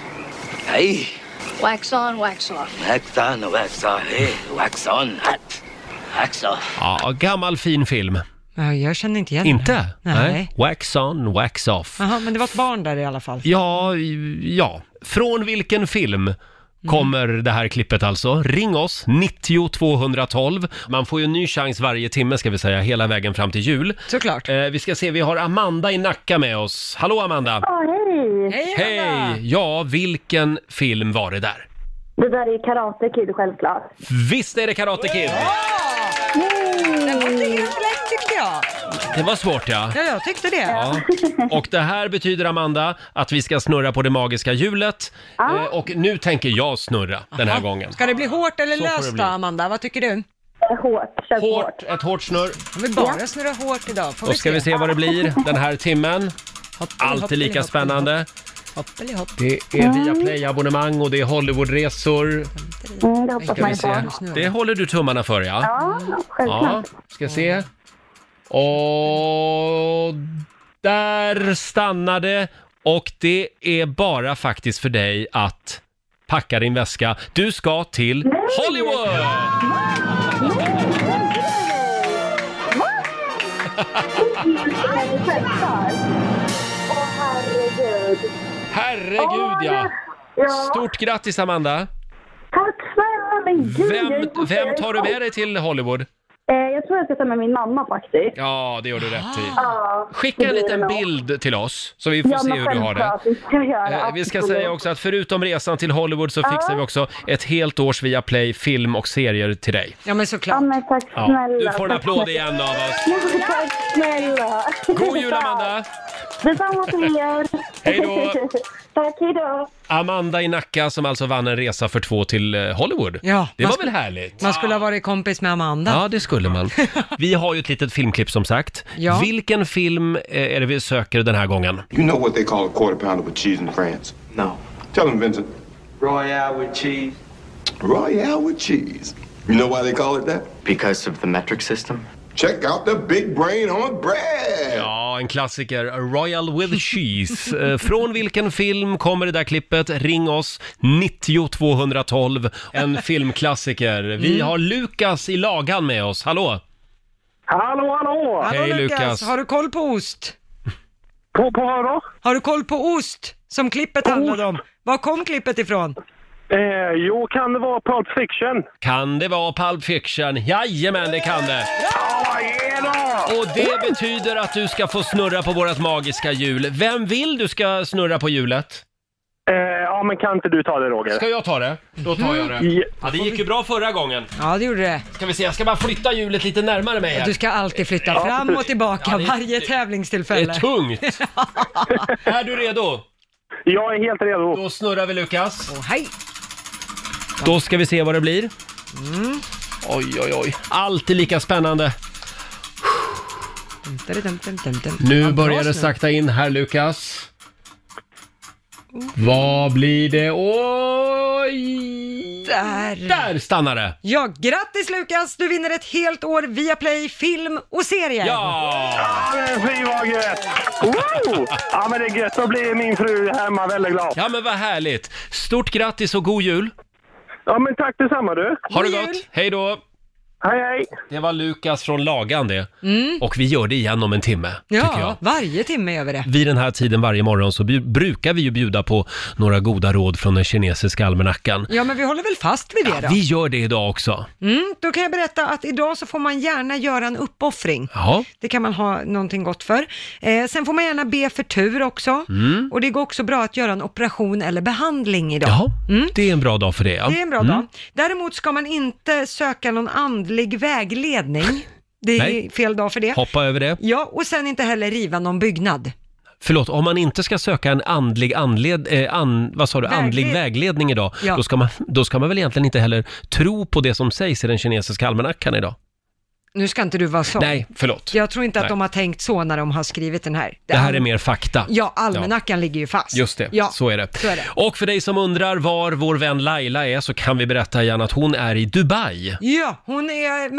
Speaker 19: Hey,
Speaker 20: Wax on, wax off.
Speaker 19: wax on, wax off. Hey, wax on, hot, wax off.
Speaker 1: Ja, gammal fin film.
Speaker 2: Ja, jag känner inte igen
Speaker 1: Inte?
Speaker 2: den. Nej.
Speaker 1: Wax on, wax off.
Speaker 2: Jaha, men det var ett barn där i alla fall.
Speaker 1: Ja, ja. Från vilken film kommer det här klippet alltså? Ring oss, 90 212. Man får ju en ny chans varje timme ska vi säga, hela vägen fram till jul.
Speaker 2: Såklart.
Speaker 1: Eh, vi ska se, vi har Amanda i Nacka med oss. Hallå Amanda!
Speaker 21: Ja, hej!
Speaker 1: Hej! Ja, vilken film var det där?
Speaker 21: Det där är Karate Kid självklart.
Speaker 1: Visst är det Karate Kid?
Speaker 2: Den var inte helt lätt tyckte jag.
Speaker 1: Det var svårt ja.
Speaker 2: Ja, jag tyckte det.
Speaker 1: Ja. Och det här betyder, Amanda, att vi ska snurra på det magiska hjulet. Eh, och nu tänker jag snurra den här gången.
Speaker 2: Ska det bli hårt eller
Speaker 1: Så får det
Speaker 2: löst
Speaker 1: bli.
Speaker 2: då, Amanda? Vad tycker du?
Speaker 21: Hårt, känns
Speaker 1: hårt. Ett hårt snurr.
Speaker 2: Om vi bara snurrar hårt idag, får
Speaker 1: Då ska vi se vad det blir den här timmen. Allt är
Speaker 2: hoppeli,
Speaker 1: lika
Speaker 2: hoppeli,
Speaker 1: spännande.
Speaker 2: Hopp.
Speaker 1: Det är Viaplay-abonnemang och det är Hollywoodresor.
Speaker 21: Mm, det hoppas
Speaker 1: Ska vi
Speaker 21: man
Speaker 1: se.
Speaker 21: på.
Speaker 1: Det håller du tummarna för ja.
Speaker 21: Ja,
Speaker 1: Ja,
Speaker 21: självklart.
Speaker 1: ska se. Och där stannar det. Och det är bara faktiskt för dig att packa din väska. Du ska till Hollywood!
Speaker 21: Självklart. Åh herregud.
Speaker 1: Herregud ja! Stort grattis Amanda!
Speaker 21: Tack snälla men gud. jag är
Speaker 1: Vem,
Speaker 21: så
Speaker 1: vem tar du med dig till Hollywood?
Speaker 21: Eh, Jag tror jag ska ta med min mamma faktiskt.
Speaker 1: Ja, det gör du rätt i.
Speaker 21: Ja,
Speaker 1: Skicka en
Speaker 21: Ah. det blir
Speaker 1: liten
Speaker 21: nog.
Speaker 1: bild till oss så vi får
Speaker 21: Ja,
Speaker 1: se
Speaker 21: men
Speaker 1: hur du har det.
Speaker 21: självklart, ska jag göra,
Speaker 1: Eh, Vi ska
Speaker 21: absolut.
Speaker 1: säga också att förutom resan till Hollywood så
Speaker 21: Ja.
Speaker 1: fixar vi också ett helt års via Play film och serier till dig.
Speaker 2: Ja, men såklart.
Speaker 21: Ja, men tack
Speaker 1: Ja,
Speaker 21: snälla.
Speaker 1: du får en
Speaker 21: tack
Speaker 1: applåd
Speaker 21: snälla.
Speaker 1: igen av oss.
Speaker 21: Ja, Tack snälla.
Speaker 1: God jul, Amanda.
Speaker 21: Detsamma till er.
Speaker 1: Hej då.
Speaker 21: Tack, hej då.
Speaker 1: Amanda i Nacka som alltså vann en resa för två till eh, Hollywood.
Speaker 2: Ja,
Speaker 1: det
Speaker 2: man
Speaker 1: var
Speaker 2: sku-
Speaker 1: väl härligt?
Speaker 2: Man skulle ha varit kompis med Amanda.
Speaker 1: Ja, det skulle man. Vi har ju ett litet filmklipp som sagt.
Speaker 2: Ja.
Speaker 1: Vilken film eh, är det vi söker den här gången?
Speaker 22: You know what they call a quarter pounder with cheese in France? No. Tell them, Vincent. Royale with cheese. Royale with cheese. You know why they call it that? Because of the metric system. Check out the big brain on bread.
Speaker 1: Ja, en klassiker. A Royal with cheese. Eh, Från vilken film kommer det där klippet? Ring oss, 90 212. En filmklassiker. Vi
Speaker 4: Mm.
Speaker 1: har Lukas i lagan med oss. Hallå!
Speaker 2: Hallå, hallå!
Speaker 1: Hej, Lukas.
Speaker 2: Har du koll på ost? På, på vad då? Har du koll på ost, som klippet handlade om? Var kom klippet ifrån?
Speaker 23: Eh, jo, kan det vara Pulp Fiction?
Speaker 1: Kan det vara Pulp Fiction? Jajamän, det kan det! Och det betyder att du ska få snurra på vårt magiska hjul. Vem vill du ska snurra på hjulet?
Speaker 23: Eh, ja, men kan inte du ta det Roger?
Speaker 1: Ska jag ta det? Då tar jag det.
Speaker 2: Mm.
Speaker 23: Ja.
Speaker 1: Ja, det gick ju bra förra gången.
Speaker 2: Ja, det gjorde det.
Speaker 1: Ska vi se, jag ska bara flytta hjulet lite närmare mig här.
Speaker 2: Du ska alltid flytta
Speaker 1: Ja,
Speaker 2: fram
Speaker 1: precis.
Speaker 2: och tillbaka
Speaker 1: Ja, det är-
Speaker 2: varje tävlingstillfälle.
Speaker 1: Det är tungt. är du redo?
Speaker 23: Jag är helt redo.
Speaker 1: Då snurrar vi Lukas.
Speaker 2: Oh, hej!
Speaker 1: Då ska vi se vad det blir. Oj, oj, oj. Allt är lika spännande. Nu börjar det sakta in här Lukas. Vad blir det? Oj!
Speaker 2: Där!
Speaker 1: Där stannar det!
Speaker 2: Ja, grattis Lukas! Du vinner ett helt år via Play film och serier.
Speaker 1: Ja!
Speaker 23: Fy vad gött! Wow! Ja men det är gött, då blir min fru hemma väldigt glad.
Speaker 1: Ja men vad härligt! Stort grattis och god jul!
Speaker 23: Ja men tack detsamma du!
Speaker 1: Ha det gott! Hej då!
Speaker 23: Hej hej!
Speaker 1: Det var Lukas från Lagan det.
Speaker 2: Mm.
Speaker 1: Och vi gör det igen om en timme, tycker jag.
Speaker 2: Ja, varje timme gör vi det.
Speaker 1: Vid den här tiden varje morgon så bju- brukar vi ju bjuda på några goda råd från den kinesiska almanackan.
Speaker 2: Ja, men vi håller väl fast vid det då?
Speaker 1: Vi gör det idag också.
Speaker 2: Mm, då kan jag berätta att idag så får man gärna göra en uppoffring.
Speaker 1: Ja.
Speaker 2: Det kan man ha någonting gott för. Eh, sen får man gärna be för tur också.
Speaker 1: Mm.
Speaker 2: Och det går också bra att göra en operation eller behandling idag.
Speaker 1: Jaha, det är en bra dag för det ja.
Speaker 2: Mm. Det är en bra
Speaker 1: Mm.
Speaker 2: dag. Däremot ska man inte söka någon andlig vägledning. Det är
Speaker 1: Nej.
Speaker 2: fel dag för det.
Speaker 1: Hoppa över det.
Speaker 2: Ja, och sen inte heller riva någon byggnad.
Speaker 1: Förlåt, om man inte ska söka en andlig, anled, eh, an, vad sa du,
Speaker 2: Vägled-
Speaker 1: andlig vägledning idag,
Speaker 2: Ja.
Speaker 1: då, ska man, då ska man väl egentligen inte heller tro på det som sägs i den kinesiska almanackan idag?
Speaker 2: Nu ska inte du vara så.
Speaker 1: Nej, förlåt.
Speaker 2: Jag tror inte att
Speaker 1: Nej.
Speaker 2: de har tänkt så när de har skrivit den här.
Speaker 1: Det här är mer fakta.
Speaker 2: Ja, almanackan ligger ju fast.
Speaker 1: Just det,
Speaker 2: ja.
Speaker 1: så är det.
Speaker 2: Så är det.
Speaker 1: Och för dig som undrar var vår vän Laila är så kan vi berätta igen att hon är i Dubai.
Speaker 2: Ja, hon är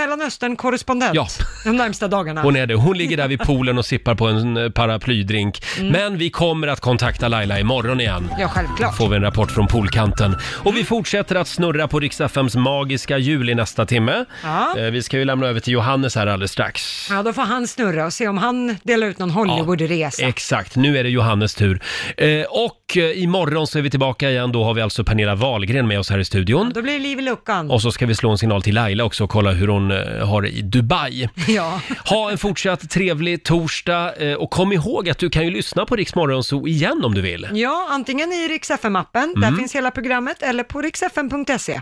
Speaker 2: Mellanöstern-korrespondent
Speaker 1: Ja.
Speaker 2: de närmsta dagarna.
Speaker 1: Hon är det. Hon ligger där vid poolen och sippar på en eh, paraplydrink.
Speaker 2: Mm.
Speaker 1: Men vi kommer att kontakta Laila imorgon igen.
Speaker 2: Ja, självklart.
Speaker 1: får vi en rapport från poolkanten. Och vi fortsätter att snurra på Rix FMs magiska hjul i nästa timme.
Speaker 2: Ja.
Speaker 1: Eh, Vi ska ju lämna över till Johannes här alldeles strax.
Speaker 2: Ja, då får han snurra och se om han delar ut någon Hollywoodresa.
Speaker 1: Exakt, nu är det Johannes tur. Eh, och eh, imorgon så är vi tillbaka igen. Då har vi alltså Pernilla Wahlgren med oss här i studion.
Speaker 2: Då blir det liv i luckan.
Speaker 1: Och så ska vi slå en signal till Laila också och kolla hur hon eh, har det i Dubai.
Speaker 2: Ja.
Speaker 1: Ha en fortsatt trevlig torsdag eh, och kom ihåg att du kan ju lyssna på Rix Morgonzoo igen om du vill.
Speaker 2: ja, antingen i Rix FM-appen, där
Speaker 1: Mm.
Speaker 2: finns hela programmet, eller på rixfm.se.